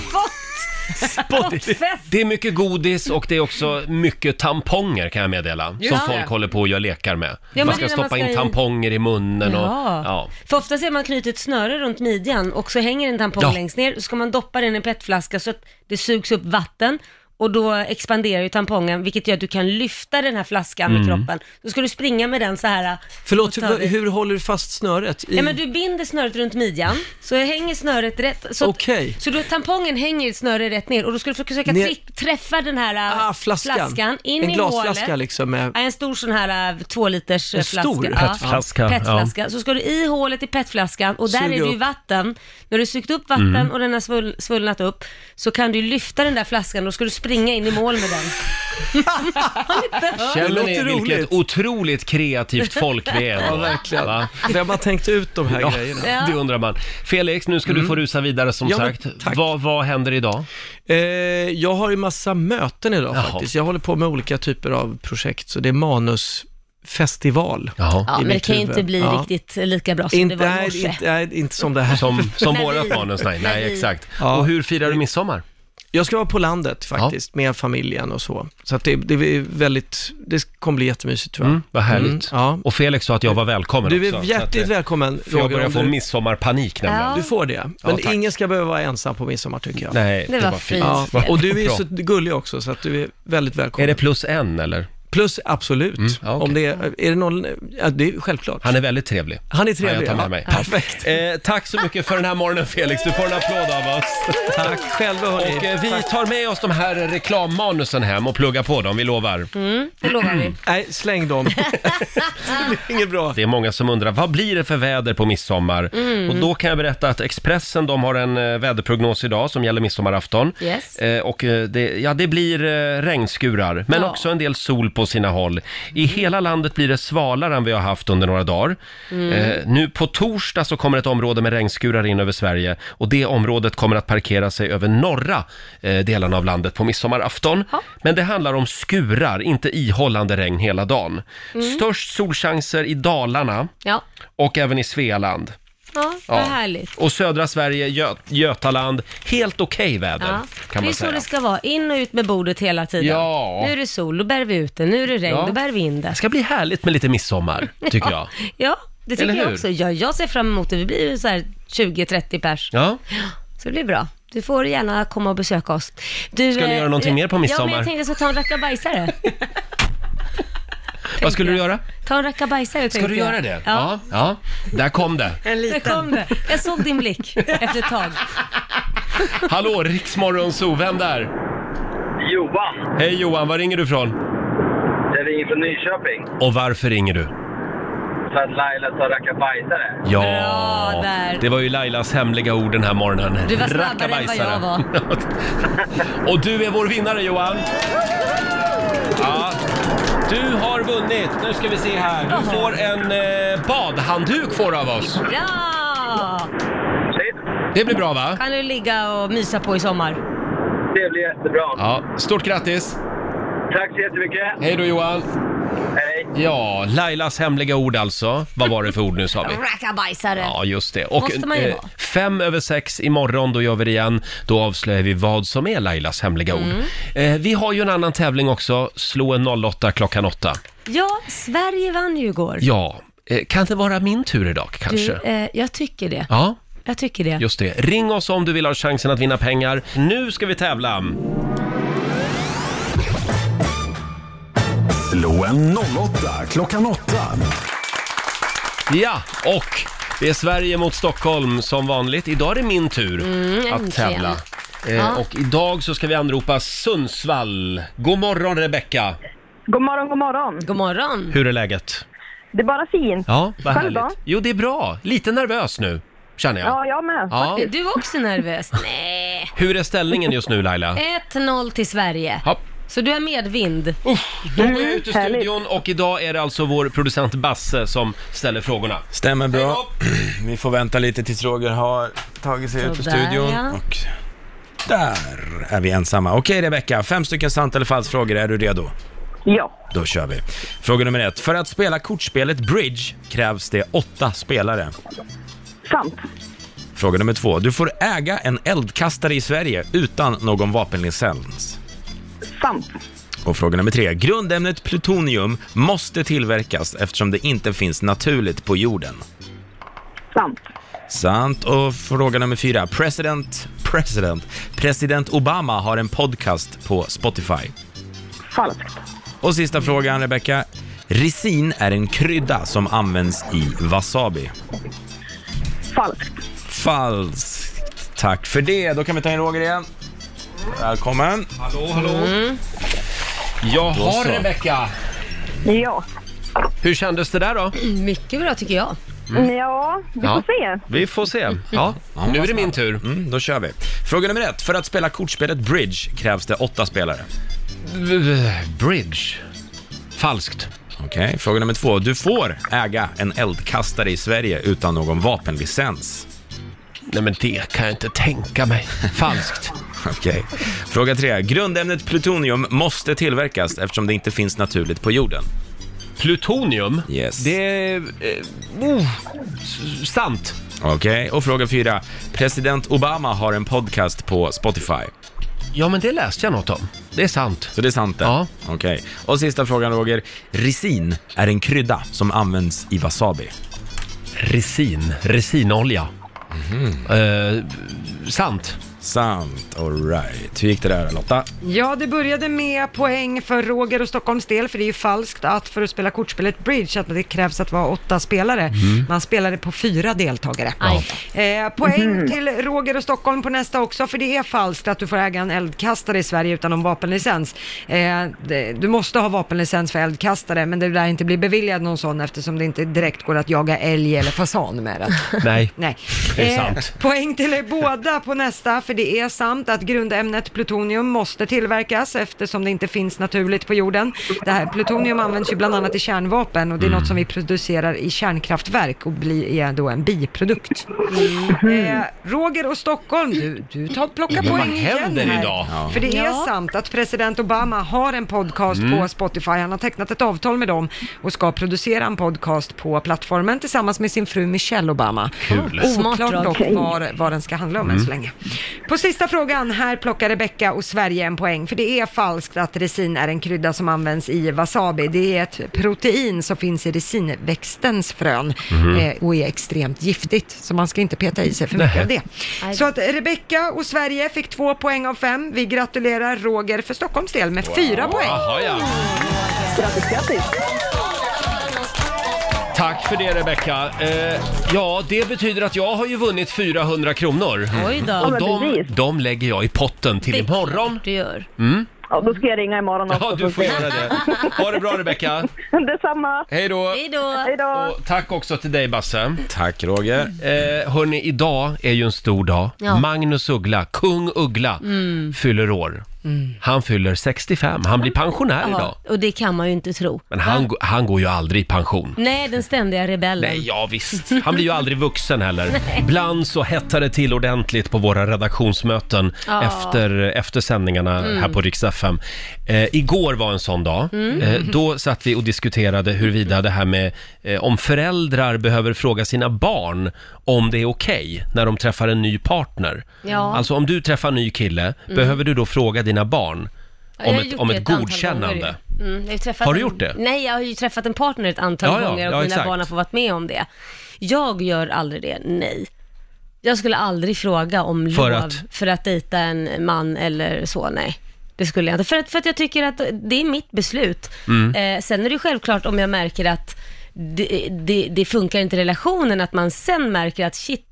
Speaker 2: spott. Spottfest.
Speaker 1: Det är mycket godis och det är också mycket tamponger kan jag meddela.
Speaker 2: Just
Speaker 1: som
Speaker 2: det.
Speaker 1: folk håller på och gör lekar med.
Speaker 2: men
Speaker 1: man
Speaker 2: det
Speaker 1: ska
Speaker 2: är när
Speaker 1: stoppa
Speaker 2: man ska
Speaker 1: in
Speaker 2: i-
Speaker 1: tamponger i munnen och...
Speaker 2: Ja.
Speaker 1: Ja.
Speaker 2: För ofta ser man knutit ett snöre runt midjan och så hänger en tampong
Speaker 1: Ja.
Speaker 2: längst ner. Så ska man doppa den i en petflaska så att det sugs upp vatten och då expanderar ju tampongen vilket gör att du kan lyfta den här flaskan med
Speaker 10: Mm.
Speaker 2: kroppen. Då ska du springa med den så här.
Speaker 10: Förlåt,
Speaker 2: Och ta
Speaker 10: hur,
Speaker 2: det.
Speaker 10: hur håller du fast snöret? I...
Speaker 2: Ja, men du binder snöret runt midjan, så hänger snöret rätt. Så, att-
Speaker 10: Okej.
Speaker 2: så då tampongen hänger snöret rätt ner och då ska du försöka
Speaker 10: Ner-
Speaker 2: tri- träffa den här äh,
Speaker 10: Ah, flaskan.
Speaker 2: in
Speaker 10: en
Speaker 2: i
Speaker 10: glasflaska
Speaker 2: hålet.
Speaker 10: liksom med...
Speaker 2: Ja, En stor sån här äh, två liters
Speaker 10: En
Speaker 2: äh,
Speaker 10: stor
Speaker 2: flaska. Ja.
Speaker 10: petflaska,
Speaker 2: petflaska.
Speaker 10: ja.
Speaker 2: Så ska du i hålet i petflaskan och där
Speaker 10: Suga
Speaker 2: är det ju
Speaker 10: upp.
Speaker 2: vatten. När du sugt upp vatten
Speaker 10: Mm.
Speaker 2: och den har svull, svullnat upp så kan du lyfta den där flaskan och då ska du springa in i mål med den. Har ni inte hört?
Speaker 1: Känner ni vilket otroligt kreativt folk vi är?
Speaker 10: Ja,
Speaker 1: verkligen. Va?
Speaker 10: Vem har tänkt ut de här
Speaker 1: Ja,
Speaker 10: grejerna?
Speaker 1: det undrar man. Felix, nu ska du få rusa vidare som
Speaker 10: Mm. Ja, men
Speaker 1: sagt. Vad, vad händer idag?
Speaker 10: Eh, jag har ju massa möten idag
Speaker 1: Jaha.
Speaker 10: faktiskt. Jag håller på med olika typer av projekt, så det är manusfestival.
Speaker 2: Ja, men det kan ju inte bli riktigt lika bra som
Speaker 10: inte,
Speaker 2: det var i
Speaker 10: nej,
Speaker 2: morse.
Speaker 10: inte, nej, inte som det här.
Speaker 1: Som, som våra manus, nej, nej exakt. Och hur firar du midsommar?
Speaker 10: Jag ska vara på landet faktiskt, med familjen och så. Så att det, det är väldigt, det kommer bli jättemysigt tror jag.
Speaker 1: Mm, vad härligt.
Speaker 10: Mm, ja.
Speaker 1: Och Felix sa att jag var välkommen
Speaker 10: Du är
Speaker 1: också. så att,
Speaker 10: hjärtligt
Speaker 1: eh,
Speaker 10: välkommen,
Speaker 1: För jag
Speaker 10: Roger,
Speaker 1: börjar
Speaker 10: om
Speaker 1: få
Speaker 10: du-
Speaker 1: midsommarpanik nämligen.
Speaker 10: Du får det,
Speaker 1: Ja,
Speaker 10: men
Speaker 1: tack.
Speaker 10: ingen ska behöva vara ensam på midsommar tycker jag.
Speaker 1: Nej, Det det var var fint.
Speaker 10: Ja,
Speaker 1: fint.
Speaker 10: och du är ju
Speaker 1: Bra.
Speaker 10: så gullig också, så att du är väldigt välkommen.
Speaker 1: Är det plus en eller?
Speaker 10: Plus, absolut. Om det är, är det någon, ja, det är självklart.
Speaker 1: Mm, Han är väldigt trevlig.
Speaker 10: Han är trevlig,
Speaker 1: Ja, jag tar med
Speaker 10: ja.
Speaker 1: mig.
Speaker 10: Ja.
Speaker 1: Perfekt. Eh, tack så mycket för den här morgonen Felix. Du får en applåd av oss. Tack
Speaker 10: själva hörni.
Speaker 1: Och eh, vi tar med oss de här reklammanusen hem och pluggar på dem, vi lovar.
Speaker 2: Mm, det lovar vi.
Speaker 10: Nej, släng dem. det blir inget bra.
Speaker 1: Det är många som undrar, vad blir det för väder på midsommar?
Speaker 2: Mm.
Speaker 1: Och då kan jag berätta att Expressen, de har en eh, väderprognos idag som gäller midsommarafton.
Speaker 2: Yes.
Speaker 1: Eh, och eh, det, ja, det blir eh, regnskurar, men
Speaker 2: Ja. Mm.
Speaker 1: också en del sol på sina håll. I hela landet blir det svalare än vi har haft under några dagar.
Speaker 6: Mm.
Speaker 1: Eh, nu på torsdag så kommer ett område med regnskurar in över Sverige och det området kommer att parkera sig över norra eh, delarna av landet på midsommarafton. Men det handlar om skurar, inte ihållande regn hela dagen.
Speaker 2: Mm.
Speaker 1: Störst solchanser i Dalarna
Speaker 2: Ja.
Speaker 1: och även i Svealand.
Speaker 2: Ja,
Speaker 1: Ja.
Speaker 2: vad härligt.
Speaker 1: Och södra Sverige, Gö- Götaland, helt okej väder
Speaker 2: Ja.
Speaker 1: kan
Speaker 2: det är
Speaker 1: man
Speaker 2: så
Speaker 1: säga.
Speaker 2: det ska vara, in och ut med bordet hela tiden.
Speaker 1: Ja.
Speaker 2: Nu är det sol, då bär vi ut det. Nu är det regn,
Speaker 1: Ja.
Speaker 2: då bär vi in det.
Speaker 1: Det ska bli härligt med lite midsommar, tycker jag.
Speaker 2: Ja, det tycker
Speaker 1: Eller
Speaker 2: jag
Speaker 1: hur?
Speaker 2: också. Ja, jag ser fram emot det. Vi blir ju så här 20-30 pers.
Speaker 1: Ja.
Speaker 2: Så det blir bra. Du får gärna komma och besöka oss. Du,
Speaker 1: Ska ni
Speaker 2: eh,
Speaker 1: göra någonting mer på
Speaker 2: Ja,
Speaker 1: midsommar?
Speaker 2: men jag tänkte att jag ska ta en rackabajsare.
Speaker 1: Vad skulle du göra?
Speaker 2: Ta en rackabajsare
Speaker 1: Ska du göra det? Ja. ja. Där kom det.
Speaker 2: En liten. Där kom det. Jag såg din blick efter ett tag.
Speaker 1: Hallå, Riksmorgon Zoo, vem där?
Speaker 12: Johan,
Speaker 1: Hej Johan, var ringer du ifrån?
Speaker 12: jag ringer från Nyköping
Speaker 1: Och varför ringer du?
Speaker 12: för att Laila tar rackabajsare.
Speaker 1: Ja,
Speaker 12: Bra där.
Speaker 1: det var ju Lailas hemliga ord den här morgonen.
Speaker 12: Du var snabbare än vad jag
Speaker 1: var. Och du är vår vinnare Johan! Ja. Du har vunnit, nu ska vi se här. Du får en eh, badhandduk får du av oss.
Speaker 2: Ja!
Speaker 1: Det blir bra va?
Speaker 2: Kan du ligga och mysa på i sommar?
Speaker 12: Det blir jättebra.
Speaker 1: Ja, stort grattis!
Speaker 12: Tack så jättemycket.
Speaker 1: Hej då Johan!
Speaker 12: Hej!
Speaker 1: Ja, Lailas hemliga ord alltså. Vad var det för ord nu sa vi?
Speaker 2: Rackabajsare.
Speaker 1: Ja, just det. eh,
Speaker 2: Måste man ju vara.
Speaker 1: fem över sex imorgon, då gör vi det igen. Då avslöjar vi vad som är Lailas hemliga
Speaker 2: Mm.
Speaker 1: ord. Eh, vi har ju en annan tävling också, slå en 08 klockan 8.
Speaker 2: Ja, Sverige vann ju igår.
Speaker 1: Ja, eh, kan det vara min tur idag kanske?
Speaker 2: Du, eh, jag tycker det.
Speaker 1: Ja,
Speaker 2: Jag tycker det.
Speaker 1: just det. Ring oss om du vill ha chansen att vinna pengar. Nu ska vi tävla!
Speaker 11: Slå en 08 klockan 8.
Speaker 1: Ja, och det är Sverige mot Stockholm som vanligt. Idag är det min tur
Speaker 2: Mm, äntligen.
Speaker 1: att tävla. Eh,
Speaker 13: Ja.
Speaker 1: Och idag så ska vi anropa Sundsvall. God morgon Rebecka!
Speaker 13: God morgon, god morgon.
Speaker 2: God morgon.
Speaker 1: Hur är läget?
Speaker 13: Det är bara fint.
Speaker 1: Ja, vad
Speaker 13: Själv
Speaker 1: härligt.
Speaker 13: då?
Speaker 1: Jo, det är bra. Lite nervös nu, känner jag.
Speaker 2: Ja,
Speaker 13: jag med.
Speaker 1: Ja.
Speaker 2: Är du också nervös? Nej.
Speaker 1: Hur är ställningen just nu Laila?
Speaker 13: Eh.
Speaker 2: 1-0 till Sverige.
Speaker 1: Ja.
Speaker 2: Så du är medvind.
Speaker 1: Då går
Speaker 13: Mm,
Speaker 1: jag ut ur studion och idag är det alltså vår producent Basse som ställer frågorna.
Speaker 9: Stämmer bra. Vi får vänta lite tills Roger har tagit sig ut ur
Speaker 1: Sådär,
Speaker 9: studion.
Speaker 1: ja.
Speaker 9: Och där är vi ensamma. Okej Rebecka, fem stycken sant eller falskt frågor. Är du redo?
Speaker 13: Ja.
Speaker 9: Då kör vi. Fråga nummer ett. För att spela kortspelet Bridge krävs det åtta spelare.
Speaker 13: Sant.
Speaker 9: Fråga nummer två. Du får äga en eldkastare i Sverige utan någon vapenlicens.
Speaker 13: Sant.
Speaker 9: Och fråga nummer tre. Grundämnet plutonium måste tillverkas eftersom det inte finns naturligt på jorden.
Speaker 13: Sant.
Speaker 9: Sant. Och fråga nummer fyra. President, president, president Obama har en podcast på Spotify.
Speaker 13: Falskt.
Speaker 9: Och sista frågan, Rebecca. Resin är en krydda som används i wasabi.
Speaker 13: Falskt.
Speaker 9: Falskt. Tack för det. Då kan vi ta in Roger igen. Välkommen.
Speaker 1: Hallå, hallå. Jaha
Speaker 9: Då så.
Speaker 1: Rebecka!
Speaker 13: Ja.
Speaker 1: Hur kändes det där då?
Speaker 2: Mycket bra tycker jag.
Speaker 9: Mm.
Speaker 13: Ja, vi
Speaker 9: Ja.
Speaker 13: får se.
Speaker 1: Vi får se. Ja,
Speaker 9: nu är det min tur. Mm, då kör vi. Fråga nummer ett. För att spela kortspelet Bridge krävs det åtta spelare.
Speaker 1: Bridge. Falskt.
Speaker 9: Okej, fråga nummer två. Du får äga en eldkastare i Sverige utan någon vapenlicens.
Speaker 1: Nej, men det kan jag inte tänka mig. Falskt.
Speaker 9: Okej. Fråga tre. Grundämnet plutonium måste tillverkas eftersom det inte finns naturligt på jorden.
Speaker 1: Plutonium?
Speaker 9: Yes.
Speaker 1: Det är... Eh, oh, s- sant.
Speaker 9: Okej, och fråga fyra. President Obama har en podcast på Spotify.
Speaker 1: Ja, men det läste jag något om. Det är sant.
Speaker 9: Så det är sant det? Ja. Okej. Och sista frågan Roger. Resin är en krydda som används i wasabi.
Speaker 1: Resin. Resinolja. Eh, sant.
Speaker 9: Sant, alright. Hur gick det där Lotta?
Speaker 3: Ja, det började med poäng för Roger och Stockholms del, för det är ju falskt att för att spela kortspelet Bridge, att det krävs att vara åtta spelare.
Speaker 6: Mm.
Speaker 3: Man spelade på fyra deltagare. Eh, poäng till Roger och Stockholm på nästa också, för det är falskt att du får äga en eldkastare i Sverige utan någon vapenlicens. Eh, det- du måste ha vapenlicens för eldkastare, men det lär inte bli beviljad någon sån eftersom det inte direkt går att jaga älg eller fasan med den.
Speaker 1: Nej.
Speaker 3: Nej.
Speaker 1: Det är
Speaker 3: Eh,
Speaker 1: sant.
Speaker 3: Poäng till er båda på nästa, för för det är sant att grundämnet plutonium måste tillverkas eftersom det inte finns naturligt på jorden. Det här plutonium används ju bland annat i kärnvapen och det är något som
Speaker 6: Mm.
Speaker 3: vi producerar i kärnkraftverk och blir, är då en biprodukt. Eh, Roger och Stockholm, du, du tar, plockar
Speaker 6: Men Mm. vad
Speaker 3: poäng igen
Speaker 6: händer
Speaker 3: här.
Speaker 6: idag? Ja.
Speaker 3: För det är
Speaker 6: Ja.
Speaker 3: sant att president Obama har en podcast
Speaker 6: Mm.
Speaker 3: på Spotify. Han har tecknat ett avtal med dem och ska producera en podcast på plattformen tillsammans med sin fru Michelle Obama.
Speaker 6: Kul.
Speaker 3: Oklart
Speaker 6: Smart drag.
Speaker 3: dock
Speaker 6: Okej.
Speaker 3: vad, vad den ska handla om än
Speaker 6: Mm.
Speaker 3: så länge. På sista frågan, här plockar Rebecca och Sverige en poäng. För det är falskt att resin är en krydda som används i wasabi. Det är ett protein som finns i resinväxtens frön
Speaker 6: Mhm.
Speaker 3: eh, och är extremt giftigt. Så man ska inte peta i sig för mycket
Speaker 6: Nej.
Speaker 3: av det. Så att Rebecca och Sverige fick två poäng av fem. Vi gratulerar Roger för Stockholms del med fyra poäng.
Speaker 1: Jaha, ja.
Speaker 3: Grattis, grattis.
Speaker 1: Tack för det Rebecka. Eh, ja, det betyder att jag har ju vunnit 400 kronor.
Speaker 13: Oj då. Ja,
Speaker 1: Och
Speaker 13: men
Speaker 1: de,
Speaker 13: precis.
Speaker 1: de lägger jag Mm. i potten till imorgon.
Speaker 13: Du gör.
Speaker 1: Mm.
Speaker 13: Ja, då ska jag ringa imorgon också.
Speaker 1: Ja, du får göra det. Ha det bra Rebecka.
Speaker 13: Detsamma.
Speaker 1: Hej då.
Speaker 13: Hej då. Hej då.
Speaker 1: Tack också till dig Basse.
Speaker 9: Tack Roger.
Speaker 1: Eh, hörni, idag är ju en stor dag.
Speaker 9: Ja.
Speaker 1: Magnus Uggla, kung Uggla,
Speaker 2: Mm.
Speaker 1: fyller år. Han fyller 65, han blir pensionär idag.
Speaker 2: Ja, och det kan man ju inte tro.
Speaker 1: Men han, g- han går ju aldrig i pension.
Speaker 2: Nej, den ständiga rebellen.
Speaker 1: Nej, ja visst. Han blir ju aldrig vuxen heller.
Speaker 2: Nej.
Speaker 1: Ibland så hettar det till ordentligt på våra redaktionsmöten
Speaker 2: Ja.
Speaker 1: efter, efter sändningarna
Speaker 2: Mm.
Speaker 1: här på Rix FM. Eh, igår var en sån dag.
Speaker 6: Mm.
Speaker 1: Eh, då satt vi och diskuterade huruvida det här med eh, om föräldrar behöver fråga sina barn om det är okej när de träffar en ny partner.
Speaker 6: Ja.
Speaker 1: Alltså om du träffar en ny kille,
Speaker 2: Mm.
Speaker 1: behöver du då fråga dina barn
Speaker 2: Ja, jag
Speaker 1: om
Speaker 2: har
Speaker 1: ett,
Speaker 2: gjort
Speaker 1: om
Speaker 2: det
Speaker 1: ett
Speaker 2: antal
Speaker 1: godkännande?
Speaker 2: gånger ju. Mm, jag har, ju träffat
Speaker 1: Har du
Speaker 2: en-
Speaker 1: gjort det?
Speaker 2: Nej, jag har ju träffat en partner ett antal
Speaker 1: Ja, ja,
Speaker 2: gånger och
Speaker 1: ja,
Speaker 2: mina
Speaker 1: exakt.
Speaker 2: barn har fått varit med om det. Jag gör aldrig det, nej. Jag skulle aldrig fråga om
Speaker 1: För
Speaker 2: lov
Speaker 1: att-
Speaker 2: för att dejta en man eller så, nej. Det skulle jag inte. För att, för att jag tycker att det är mitt beslut.
Speaker 6: Mm.
Speaker 2: Eh, sen är det ju självklart om jag märker att det, det, det funkar inte i relationen, att man sen märker att shit,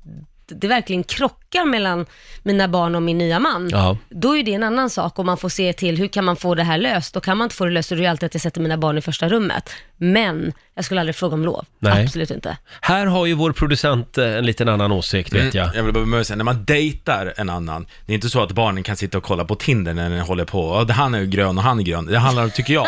Speaker 2: det verkligen krockar mellan mina barn och min nya man.
Speaker 1: Ja.
Speaker 2: Då är det en annan sak om man får se till hur kan man få det här löst. Då kan man inte få det löst, och det är ju alltid att jag sätter mina barn i första rummet. Men jag skulle aldrig fråga om lov.
Speaker 1: Nej.
Speaker 2: Absolut inte.
Speaker 1: Här har ju vår producent eh, en liten annan åsikt vet jag.
Speaker 9: Mm, Jag vill bara bemöta när man dejtar en annan, det är inte så att barnen kan sitta och kolla på Tinder när den håller på, "Ja, han är grön och han är grön. Det handlar, tycker jag,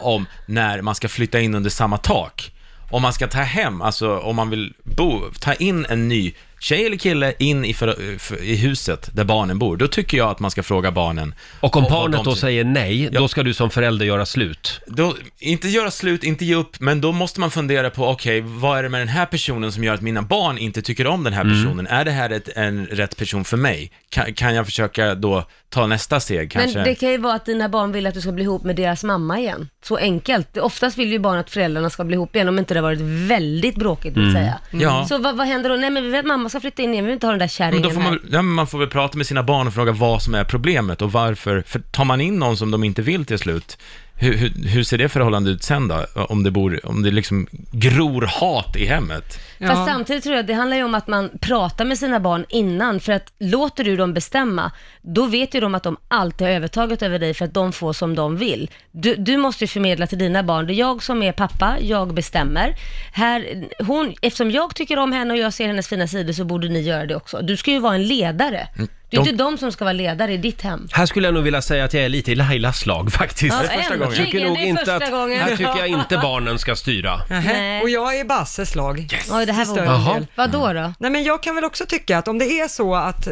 Speaker 9: om när man ska flytta in under samma tak. Om man ska ta hem, alltså om man vill bo, ta in en ny tjej eller kille in i, för, för, i huset där barnen bor, då tycker jag att man ska fråga barnen.
Speaker 1: Och om
Speaker 9: vad
Speaker 1: barnet
Speaker 9: de
Speaker 1: då
Speaker 9: tycker.
Speaker 1: säger nej, då ska du som förälder göra slut.
Speaker 9: Då, inte göra slut, inte ge upp, men då måste man fundera på, okej, vad är det med den här personen som gör att mina barn inte tycker om den här
Speaker 1: Mm.
Speaker 9: personen? Är det här ett, en rätt person för mig? Kan, kan jag försöka då ta nästa steg kanske?
Speaker 2: Men det kan ju vara att dina barn vill att du ska bli ihop med deras mamma igen. Så enkelt. Oftast vill ju barn att föräldrarna ska bli ihop igen, om inte det har varit väldigt bråkigt vill
Speaker 9: Mm.
Speaker 2: säga.
Speaker 9: Ja.
Speaker 2: Så vad, vad händer då? Nej men vi vet att mamma ska flytta in igen, vi vill inte ha den där
Speaker 9: Men
Speaker 2: kärringen
Speaker 9: då får man,
Speaker 2: här.
Speaker 9: väl- ja, men man får väl prata med sina barn och fråga vad som är problemet och varför. För tar man in någon som de inte vill till slut, hur, hur, hur ser det förhållande ut sen då? Om det, bor, om det liksom gror hat i hemmet?
Speaker 2: Fast samtidigt tror jag att det handlar ju om att man pratar med sina barn innan, för att låter du dem bestämma, då vet ju de att de alltid har övertaget över dig för att de får som de vill. Du, du måste ju förmedla till dina barn, det är jag som är pappa, jag bestämmer. Här, hon, eftersom jag tycker om henne och jag ser hennes fina sidor så borde ni göra det också. Du ska ju vara en ledare. Det är
Speaker 1: De-
Speaker 2: inte de som ska vara ledare i ditt hem.
Speaker 1: Här skulle jag nog vilja säga att jag är lite i Lailas lag faktiskt.
Speaker 2: Ja, Det är första äntligen, gången.
Speaker 1: Tycker nog
Speaker 2: det är
Speaker 1: inte
Speaker 2: första
Speaker 1: att,
Speaker 2: gången.
Speaker 1: Här tycker jag inte barnen ska styra.
Speaker 3: Och jag är Basses lag.
Speaker 2: Oj, det här
Speaker 3: Till
Speaker 2: var
Speaker 3: större
Speaker 1: Jaha.
Speaker 3: del.
Speaker 2: Vad då då?
Speaker 3: Nej men jag kan väl också tycka att om det är så att,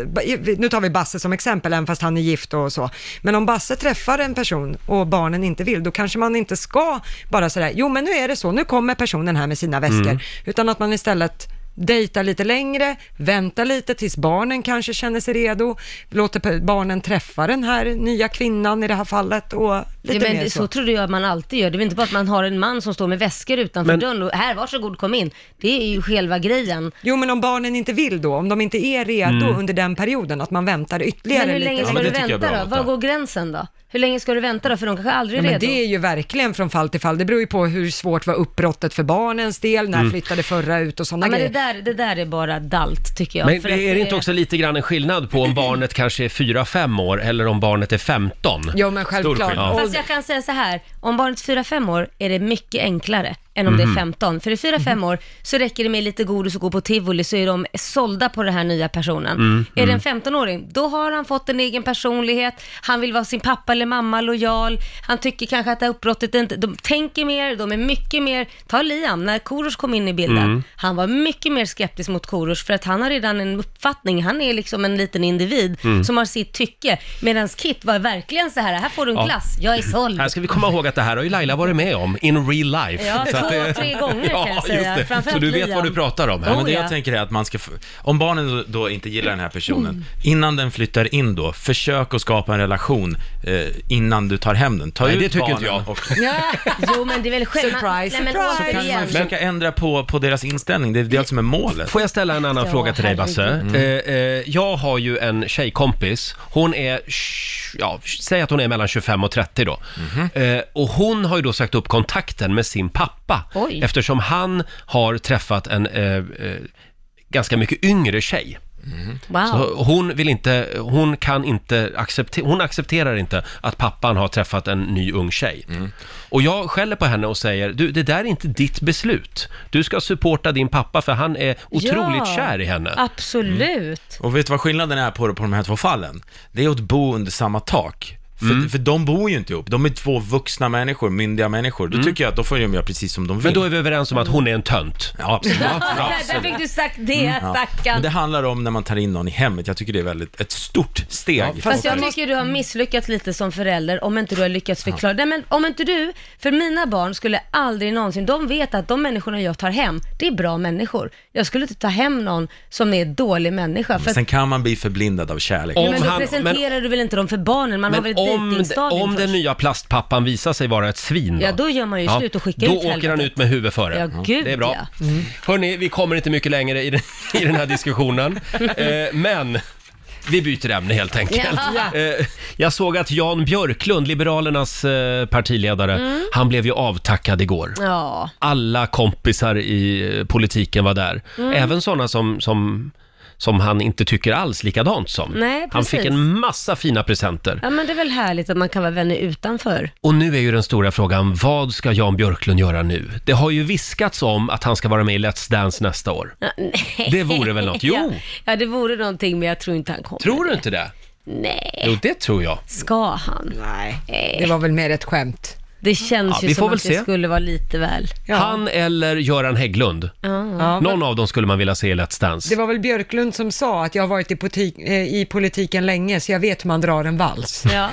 Speaker 3: nu tar vi Basse som exempel, även fast han är gift och så, men om Basse träffar en person och barnen inte vill, då kanske man inte ska bara sådär, jo men nu är det så, nu kommer personen här med sina väskor,
Speaker 6: Mm.
Speaker 3: utan att man istället dejtar lite längre, väntar lite tills barnen kanske känner sig redo, låter pe- barnen träffa den här nya kvinnan i det här fallet och lite
Speaker 2: ja, men
Speaker 3: mer
Speaker 2: det- så. trodde jag man alltid gör. Det är väl inte bara att man har en man som står med väskor utanför
Speaker 3: Men-
Speaker 2: dörren och här, varsågod kom in. Det är ju själva grejen.
Speaker 3: Jo, men om barnen inte vill då, om de inte är redo
Speaker 2: Mm.
Speaker 3: under den perioden, att man väntar ytterligare
Speaker 2: Men hur
Speaker 3: lite.
Speaker 2: länge ska du vänta då? Var går gränsen då? Hur länge ska du vänta då? För de kanske aldrig
Speaker 3: Ja,
Speaker 2: är
Speaker 3: men
Speaker 2: redo.
Speaker 3: det är ju verkligen från fall till fall. Det beror ju på hur svårt var uppbrottet för barnens del, när
Speaker 1: Mm.
Speaker 3: flyttade förra ut och sådana
Speaker 2: Ja, men det,
Speaker 3: grejer.
Speaker 2: där, det där är bara dalt tycker jag.
Speaker 1: Men
Speaker 2: För
Speaker 1: det
Speaker 2: att
Speaker 1: är det inte också lite grann en skillnad på om barnet kanske är 4-5 år eller om barnet är 15?
Speaker 2: Jo, men
Speaker 1: Stor skillnad.
Speaker 2: Fast jag kan säga så här, om barnet är 4-5 år är det mycket enklare än om det
Speaker 1: Mhm.
Speaker 2: är 15. För i 4-5 år så räcker det med lite godis och gå på tivoli så är de sålda på den här nya personen.
Speaker 1: Mm,
Speaker 2: Är det
Speaker 1: mm.
Speaker 2: en 15-åring, då har han fått en egen personlighet, han vill vara sin pappa eller mamma lojal, han tycker kanske att det här uppbrottet inte, de tänker mer, de är mycket mer, ta Liam, när Korosh kom in i bilden,
Speaker 14: Mm.
Speaker 2: han var mycket mer skeptisk mot Korosh för att han har redan en uppfattning, han är liksom en liten individ
Speaker 1: Mm.
Speaker 2: som har sitt tycke, medan Kit var verkligen så här, här får du en
Speaker 1: Ja.
Speaker 2: glass, jag är såld.
Speaker 1: Här ska vi komma ihåg att det här har ju Laila varit med om in real life.
Speaker 2: Ja,
Speaker 1: Så att
Speaker 2: två,
Speaker 1: det-
Speaker 2: tre gånger kan jag
Speaker 1: Ja, just
Speaker 2: säga.
Speaker 1: det.
Speaker 2: Framförallt
Speaker 1: Så du vet
Speaker 2: Liam.
Speaker 1: vad du pratar om här.
Speaker 9: Ja, men det
Speaker 2: Oh, ja.
Speaker 9: jag tänker är att man ska, f- om barnen då- då inte gillar den här personen,
Speaker 2: Mm.
Speaker 9: innan den flyttar in då, försök att skapa en relation eh, innan du tar hem den. Ta
Speaker 1: Nej,
Speaker 9: ut
Speaker 1: det tycker
Speaker 9: barnen
Speaker 1: inte jag.
Speaker 9: Och,
Speaker 2: jo men det är väl själv...
Speaker 3: Surprise,
Speaker 2: Nej, men
Speaker 3: surprise.
Speaker 9: så kan man
Speaker 2: återigen.
Speaker 9: försöka ändra på, på deras inställning, det är det som är målet.
Speaker 1: Får jag ställa en annan
Speaker 2: Ja,
Speaker 1: fråga till dig Basse?
Speaker 2: herregud.
Speaker 1: Eh, eh, jag har ju en tjejkompis, hon är, tj- ja, säg att hon är mellan 25 och 30 då. Eh, och hon har ju då sagt upp kontakten med sin pappa
Speaker 6: Oj.
Speaker 1: eftersom han har träffat en eh, eh, ganska mycket yngre tjej.
Speaker 6: Wow.
Speaker 1: Så hon vill inte, hon kan inte acceptera, hon accepterar inte att pappan har träffat en ny ung tjej. Och jag skäller på henne och säger, du det där är inte ditt beslut. Du ska supporta din pappa för han är otroligt
Speaker 2: Ja,
Speaker 1: kär i henne. Mm.
Speaker 2: Absolut.
Speaker 9: Och vet du vad skillnaden är på, på de här två fallen? Det är att bo under samma tak. För,
Speaker 1: Mm.
Speaker 9: för de bor ju inte ihop, de är två vuxna människor, myndiga människor. Då tycker jag att då får de göra precis som de vill. Men då
Speaker 1: Mm. är vi överens om att hon är en tönt.
Speaker 9: Ja, absolut.
Speaker 2: Ja,
Speaker 9: Ja,
Speaker 2: där, där
Speaker 9: absolut.
Speaker 2: fick du sagt det,
Speaker 1: Mm.
Speaker 9: Ja. Men
Speaker 2: stackarn.
Speaker 9: det handlar om när man tar in någon i hemmet. Jag tycker det är väldigt, ett stort steg.
Speaker 2: Fast jag tycker du har misslyckats lite som förälder om inte du har lyckats förklara. Nej men om inte du, för mina barn skulle aldrig någonsin, de vet att de människorna jag tar hem, det är bra människor. Jag skulle inte ta hem någon som är dålig människa. För att,
Speaker 9: Sen kan man bli förblindad av kärlek.
Speaker 2: Nej, men då presenterar du väl inte dem för barnen? Man har väl
Speaker 1: men
Speaker 2: ett
Speaker 1: om,
Speaker 2: dejtingstadium
Speaker 1: om
Speaker 2: först?
Speaker 1: den nya plastpappan visar sig vara ett svin då?
Speaker 2: Ja, då gör man ju slut och skickar
Speaker 1: då
Speaker 2: ut
Speaker 1: Då åker han
Speaker 2: helvetet.
Speaker 1: ut med huvudet före. Mm.
Speaker 2: Ja, gud,
Speaker 1: Det är bra. Mm.
Speaker 2: ja.
Speaker 1: Hörni, vi kommer inte mycket längre i den, i den här diskussionen. eh, men vi byter ämne helt enkelt.
Speaker 6: Ja.
Speaker 1: Eh, jag såg att Jan Björklund, Liberalernas eh, partiledare,
Speaker 2: Mm.
Speaker 1: han blev ju avtackad igår.
Speaker 2: Ja.
Speaker 1: Alla kompisar i eh, politiken var där.
Speaker 2: Mm.
Speaker 1: Även sådana som, som, som han inte tycker alls likadant som.
Speaker 2: Nej,
Speaker 1: han
Speaker 2: precis.
Speaker 1: fick en massa fina presenter.
Speaker 2: ja men det är väl härligt att man kan vara vänner utanför.
Speaker 1: Och nu är ju den stora frågan, vad ska Jan Björklund göra nu? Det har ju viskats om att han ska vara med i Let's Dance nästa år.
Speaker 2: Ja, nej.
Speaker 1: Det vore väl något? Jo.
Speaker 2: Ja, ja det vore någonting men jag tror inte han kommer.
Speaker 1: Oh. Tror du inte det?
Speaker 2: Nej.
Speaker 1: Jo, det tror jag.
Speaker 2: Ska han?
Speaker 3: Nej.
Speaker 2: Det var
Speaker 3: väl mer ett skämt.
Speaker 2: Det känns
Speaker 1: Ja,
Speaker 2: ju
Speaker 1: vi
Speaker 2: som
Speaker 1: får väl
Speaker 2: att det
Speaker 1: se.
Speaker 2: skulle vara lite väl.
Speaker 1: Han eller Göran Hägglund.
Speaker 3: Ja,
Speaker 1: Någon av dem skulle man vilja se i Let's Dance.
Speaker 3: Det var väl Björklund som sa att jag har varit i, politik, eh, i politiken länge så jag vet hur man drar en vals.
Speaker 2: Ja,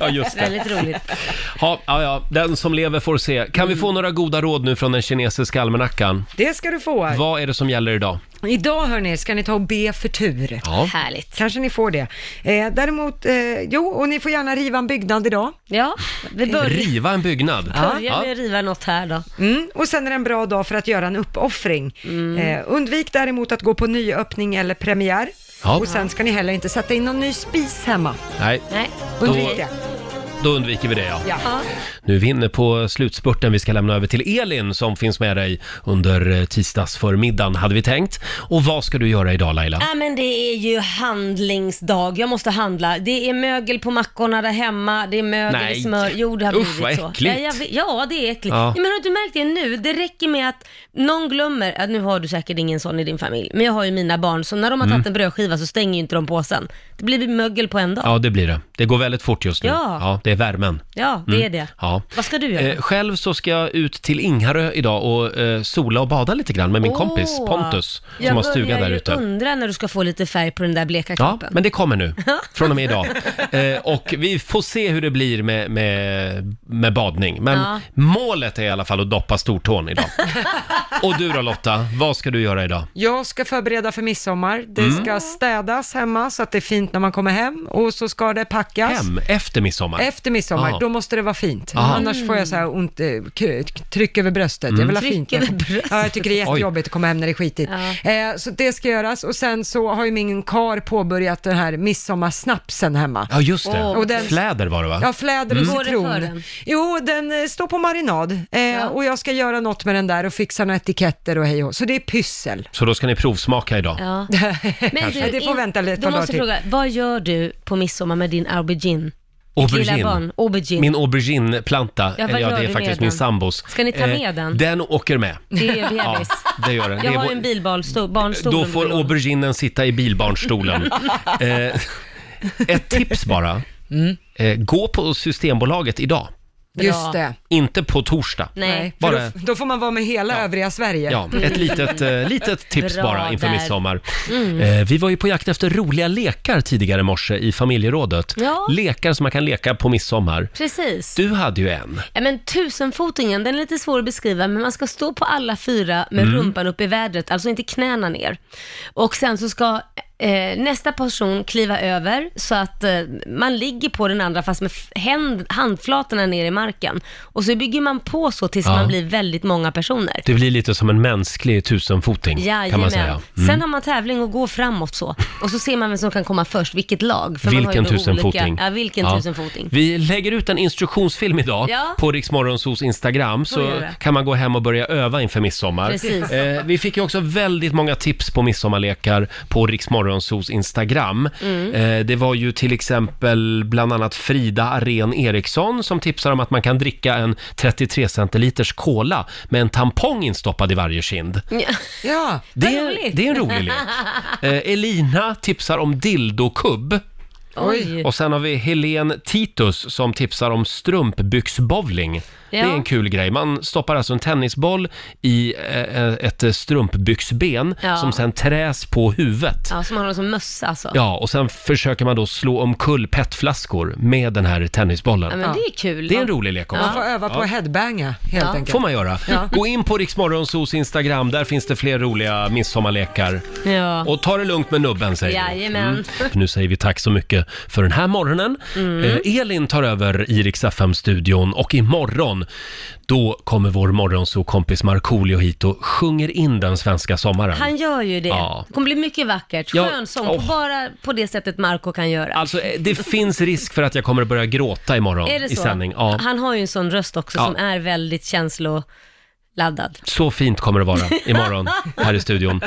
Speaker 1: ja, just det.
Speaker 2: roligt.
Speaker 1: Ja, ja, ja, den som lever får se. Kan vi
Speaker 3: Mm.
Speaker 1: få några goda råd nu från den kinesiska almanackan?
Speaker 3: Det ska du få.
Speaker 1: Vad är det som gäller idag?
Speaker 3: Idag hörni, ska ni ta och be för tur.
Speaker 1: Ja.
Speaker 2: Härligt.
Speaker 3: Kanske ni får det. Eh, däremot, eh, jo, och ni får gärna riva en byggnad idag.
Speaker 2: Ja, vi
Speaker 1: Riva en byggnad.
Speaker 2: Börja med att riva något här då.
Speaker 3: Mm, och sen är det en bra dag för att göra en uppoffring. Eh, undvik däremot att gå på nyöppning eller premiär.
Speaker 1: Ja.
Speaker 3: Och sen ska ni heller inte sätta in någon ny spis hemma.
Speaker 1: Nej,
Speaker 2: Nej,
Speaker 3: undvik det.
Speaker 1: då undviker vi det ja.
Speaker 3: Ja.
Speaker 1: Nu är vi inne på slutspurten. Vi ska lämna över till Elin som finns med dig under eh, tisdagsförmiddagen hade vi tänkt. Och vad ska du göra idag Laila?
Speaker 2: Ja men det är ju handlingsdag, jag måste handla. Det är mögel på mackorna där hemma, det är mögel
Speaker 1: Nej.
Speaker 2: i smör. Jo det har
Speaker 1: Usch,
Speaker 2: blivit
Speaker 1: vad
Speaker 2: så.
Speaker 1: äckligt.
Speaker 2: Ja, jag vet- ja det är äckligt.
Speaker 1: Ja.
Speaker 2: Ja. men har du inte märkt det nu? Det räcker med att någon glömmer, ja, nu har du säkert ingen sån i din familj, men jag har ju mina barn, så när de har
Speaker 1: Mm.
Speaker 2: tagit en brödskiva så stänger ju inte de påsen. Det blir mögel på en dag.
Speaker 1: Ja, det blir det. Det går väldigt fort just nu.
Speaker 2: Ja.
Speaker 1: det är värmen.
Speaker 2: Ja, det är det.
Speaker 1: Mm. Ja.
Speaker 2: Vad ska du göra?
Speaker 1: Eh, själv så ska jag ut till Ingarö idag och eh, sola och bada lite grann med min
Speaker 2: Åh.
Speaker 1: kompis Pontus som har stuga där ute.
Speaker 2: Jag börjar ju undra när du ska få lite färg på den där bleka
Speaker 1: Ja,
Speaker 2: kroppen.
Speaker 1: men det kommer nu, från och med idag. Eh, och vi får se hur det blir med, med, med badning. Men
Speaker 2: Ja.
Speaker 1: målet är i alla fall att doppa stortån idag. och du då Lotta, vad ska du göra idag?
Speaker 3: Jag ska förbereda för midsommar. Det
Speaker 1: Mm.
Speaker 3: ska städas hemma så att det är fint när man kommer hem och så ska det packas.
Speaker 1: Hem, efter midsommar?
Speaker 3: Efter midsommar,
Speaker 1: Ja.
Speaker 3: då måste det vara fint.
Speaker 1: Aha.
Speaker 3: Annars får jag så här ont, eh, k- tryck över bröstet.
Speaker 1: Mm.
Speaker 3: Jag vill ha
Speaker 1: Tryck
Speaker 3: fint.
Speaker 1: över
Speaker 3: Ja, jag tycker det är jättejobbigt att komma hem när det är skitigt. Eh, så det ska göras och sen så har ju min kar påbörjat den här midsommarsnapsen hemma.
Speaker 1: Ja, just det.
Speaker 3: Och den-
Speaker 1: Fläder var det va?
Speaker 3: Ja, fläder och
Speaker 1: Mm.
Speaker 3: citron. Jo, den eh, står på marinad eh, och jag ska göra något med den där och fixa några etiketter och hej och hå. Så det är pyssel.
Speaker 1: Så då ska ni provsmaka idag?
Speaker 2: Ja.
Speaker 3: Men
Speaker 1: Kanske.
Speaker 3: det får vänta lite
Speaker 2: Då
Speaker 3: par dagar
Speaker 2: måste jag
Speaker 3: till.
Speaker 2: fråga, vad gör du på midsommar med din aubergine? Lilla barn, aubergine.
Speaker 1: Min aubergineplanta,
Speaker 2: Ja, vad
Speaker 1: eller ja,
Speaker 2: gör
Speaker 1: det är
Speaker 2: du
Speaker 1: faktiskt
Speaker 2: med
Speaker 1: min
Speaker 2: den?
Speaker 1: sambos.
Speaker 2: Ska ni ta
Speaker 1: Eh,
Speaker 2: med den?
Speaker 1: Den åker med.
Speaker 2: Det är
Speaker 1: Ja,
Speaker 2: bebis.
Speaker 1: det gör den. Det
Speaker 2: Jag
Speaker 1: är
Speaker 2: har
Speaker 1: vår-
Speaker 2: ju en bilbarnstol, barnstol.
Speaker 1: Då får auberginen sitta i bilbarnstolen. eh, ett tips bara.
Speaker 3: Mm.
Speaker 1: Eh, gå på Systembolaget idag.
Speaker 3: Just det.
Speaker 1: Inte på torsdag.
Speaker 3: För
Speaker 1: Bara,
Speaker 3: Då, då får man vara med hela övriga Sverige.
Speaker 1: ja, ett litet, eh, litet tips
Speaker 3: Bra
Speaker 1: bara inför
Speaker 3: där.
Speaker 1: midsommar.
Speaker 3: Mm.
Speaker 1: Eh, vi var ju på jakt efter roliga lekar tidigare i morse i familjerådet.
Speaker 2: Ja.
Speaker 1: Lekar som man kan leka på midsommar.
Speaker 2: Precis.
Speaker 1: Du hade ju en.
Speaker 2: Ja, men tusenfotingen, den är lite svår att beskriva, men man ska stå på alla fyra med
Speaker 1: Mm.
Speaker 2: rumpan upp i vädret, alltså inte knäna ner. Och sen så ska eh, nästa person kliva över så att eh, man ligger på den andra fast med f- händ, handflatorna ner i marken. Och så bygger man på så tills
Speaker 1: Ja.
Speaker 2: man blir väldigt många personer.
Speaker 1: Det blir lite som en mänsklig tusenfoting kan man säga. Mm.
Speaker 2: Sen har man tävling och går framåt så. Och så ser man vem som kan komma först, vilket lag. För man har ju
Speaker 1: vilken
Speaker 2: då olika-
Speaker 1: tusenfoting.
Speaker 2: Ja, vilken
Speaker 1: Ja.
Speaker 2: tusenfoting.
Speaker 1: Vi lägger ut en instruktionsfilm idag
Speaker 2: Ja.
Speaker 1: på Riksmorgonsos Instagram
Speaker 2: Får
Speaker 1: så
Speaker 2: göra.
Speaker 1: kan man gå hem och börja öva inför midsommar.
Speaker 2: Precis.
Speaker 1: Eh, vi fick ju också väldigt många tips på midsommarlekar på Riksmorgonsos Instagram.
Speaker 6: Mm.
Speaker 1: Eh, det var ju till exempel bland annat Frida Arén Eriksson som tipsar om att man kan dricka en 33 centiliters cola med en tampong instoppad i varje kind.
Speaker 3: Ja,
Speaker 1: Det är, det är en rolig lek. Eh, Elina tipsar om dildokubb.
Speaker 2: Oj.
Speaker 1: Och sen har vi Helen Titus som tipsar om strumpbyxbowling. Det är
Speaker 2: Ja.
Speaker 1: en kul grej. Man stoppar alltså en tennisboll i eh, ett eh, strumpbyxben
Speaker 2: Ja.
Speaker 1: som sen träs på huvudet.
Speaker 2: Ja, som har någon som mössa alltså.
Speaker 1: Ja, och sen försöker man då slå omkull petflaskor med den här tennisbollen.
Speaker 2: Ja, men det är kul.
Speaker 1: Det är en rolig lek också.
Speaker 3: Man får öva på
Speaker 1: Ja.
Speaker 3: att headbanga helt
Speaker 2: Ja.
Speaker 3: enkelt.
Speaker 1: får man göra.
Speaker 3: Ja.
Speaker 1: Gå in på Riksmorgonsos Instagram, där finns det fler roliga midsommarlekar.
Speaker 2: Ja.
Speaker 1: Och ta det lugnt med nubben säger vi.
Speaker 2: Jajamän.
Speaker 1: Nu säger vi tack så mycket för den här morgonen.
Speaker 2: Mm.
Speaker 1: Eh, Elin tar över i Rix FM-studion och imorgon då kommer vår morgonsokompis Markoolio hit och sjunger in den svenska sommaren.
Speaker 2: Han gör ju det.
Speaker 1: Ja.
Speaker 2: Det kommer bli mycket vackert.
Speaker 1: Ja, Oh.
Speaker 2: Skön sång,
Speaker 1: åh.
Speaker 2: på bara på det sättet Marco kan göra.
Speaker 1: Alltså eh, det finns risk för att jag kommer att börja gråta imorgon
Speaker 2: är det så?
Speaker 1: i sändning. Ja.
Speaker 2: Han har ju en sån röst också
Speaker 1: Ja.
Speaker 2: som är väldigt känsloladdad.
Speaker 1: Så fint kommer det vara imorgon här i studion.